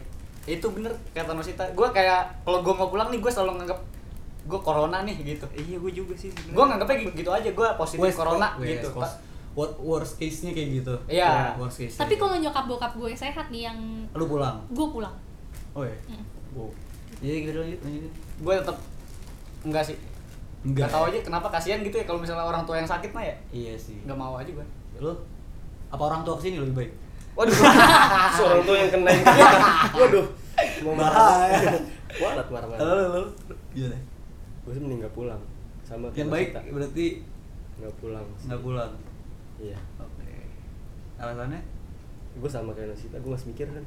S5: Itu bener kata Nosita. Gua kayak kalau gua mau pulang nih gua selalu nganggap gua corona nih gitu.
S2: Iya, gue juga sih. sebenarnya.
S5: Gua nganggapnya gitu, gitu aja gua positif
S1: West-
S5: corona
S1: West
S5: gitu.
S1: Coast. What worst case-nya kayak gitu. Ya,
S5: Iya.
S1: Worst case.
S4: Tapi kalau nyokap bokap gue sehat nih yang
S1: lu pulang.
S4: gue pulang.
S1: Oh iya.
S4: Mm.
S1: Wow. Iya, gitu lanjut lanjut.
S5: Gua tetap enggak sih.
S1: Enggak.
S5: Enggak tahu aja kenapa kasihan gitu ya kalau misalnya orang tua yang sakit mah ya.
S1: Iya sih.
S5: Enggak mau aja gua.
S1: Lu apa orang tua kesini lebih baik?
S5: Waduh.
S3: seorang tuh yang kena yang kena. waduh mau
S1: Bahaya.
S3: warat
S1: Lu
S3: marah-marah
S1: lu lu. Gimana?
S3: gue sih mending nggak pulang sama
S1: Yang
S3: kayak
S1: baik
S3: Sita.
S1: berarti
S3: nggak pulang sih.
S1: nggak pulang.
S3: iya
S1: Oke. Alasannya?
S3: gue sama kayak Nasita gue masih mikir kan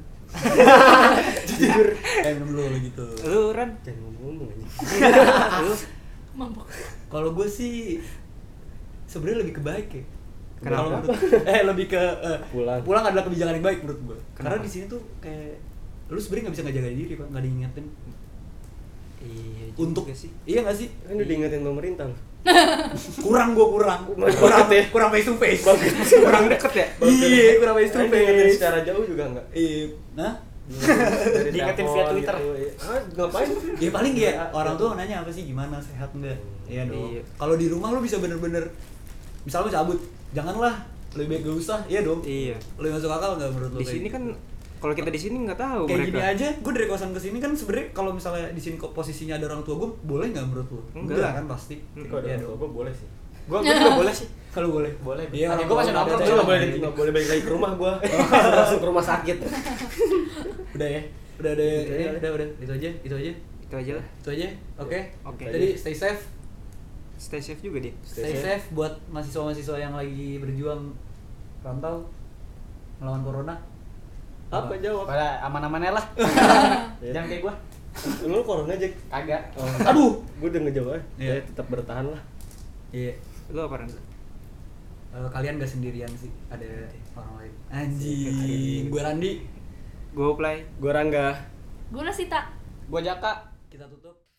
S1: Jujur. Eh, minum dulu gitu.
S2: Lu Ran,
S3: jangan ngomong-ngomong aja
S1: Ah.
S2: lu
S4: Mabok.
S1: Kalau gue sih sebenarnya lebih ke baik ya.
S2: Kenapa?
S1: Kalau menurut- eh lebih ke eh,
S3: Pulang.
S1: Pulang adalah kebijakan yang baik menurut gue. Karena
S2: Kenapa?
S1: di sini tuh kayak lu sebenarnya nggak bisa ngejaga diri pak, nggak diingetin.
S2: Iya, juga
S1: Untuk
S2: sih.
S1: iya nggak sih?
S3: kan udah diingetin pemerintah loh
S1: Kurang gue kurang.
S3: Bagus
S1: Kurang
S3: ya.
S1: kurang face to face.
S2: Kurang deket ya?
S1: Iya, kurang face to
S3: Kan diingetin
S1: face.
S3: secara jauh juga nggak
S1: Iya, nah?
S3: Dari
S5: Diingetin
S3: telepon
S5: via Twitter.
S3: gitu, iya. ah ngapain Iya.
S1: Ya paling ya orang tua nanya apa sih gimana sehat nggak? Iya dong.
S2: Iya.
S1: Kalau di rumah lu bisa bener-bener misalnya lu cabut, janganlah lebih baik gak usah, iya dong.
S2: Iya.
S1: Lebih masuk akal nggak menurut lu?
S2: Di
S1: kayak
S2: sini
S1: gitu?
S2: kan kalau kita di sini nggak tahu
S1: kayak
S2: mereka.
S1: gini aja, gue dari kosan ke sini kan sebenarnya kalau misalnya di sini kok posisinya ada orang tua gue boleh nggak menurut lu?
S2: Enggak.
S1: kan pasti.
S3: kalau
S1: Iya
S3: ada orang tua
S1: dong.
S3: gua boleh sih
S5: Gua gua juga boleh sih.
S1: Kalau boleh.
S5: Boleh.
S1: Iya,
S5: Adik
S1: orang
S5: gua
S1: tua
S5: masih
S1: ada
S5: nongkrong,
S1: aja.
S3: Gue
S5: lu
S3: nggak boleh nggak boleh balik lagi ke rumah gue langsung ke rumah sakit
S1: Udah ya. Udah ada
S3: Udah,
S1: ini,
S3: udah.
S1: udah udah itu aja, itu aja.
S2: Itu aja lah.
S1: Itu aja. Oke.
S2: Oke.
S1: Jadi stay safe.
S2: Stay safe juga dia.
S1: Stay safe buat mahasiswa-mahasiswa yang lagi berjuang rantau melawan corona.
S3: apa jawab
S5: Pada aman-amannya lah. Jangan kayak gua.
S3: lu corona Jack
S5: Kagak.
S1: Aduh.
S3: gue udah ngejawab
S1: Iya.
S3: ya tetap bertahan lah
S1: Iya.
S2: Lu apa Ran?
S1: Eh, kalian gak sendirian sih, ada orang lain. Anjing. Gue Randi.
S2: Gue play.
S3: gue Rangga
S4: Gue Nasita.
S5: Gua Jaka.
S1: Kita tutup.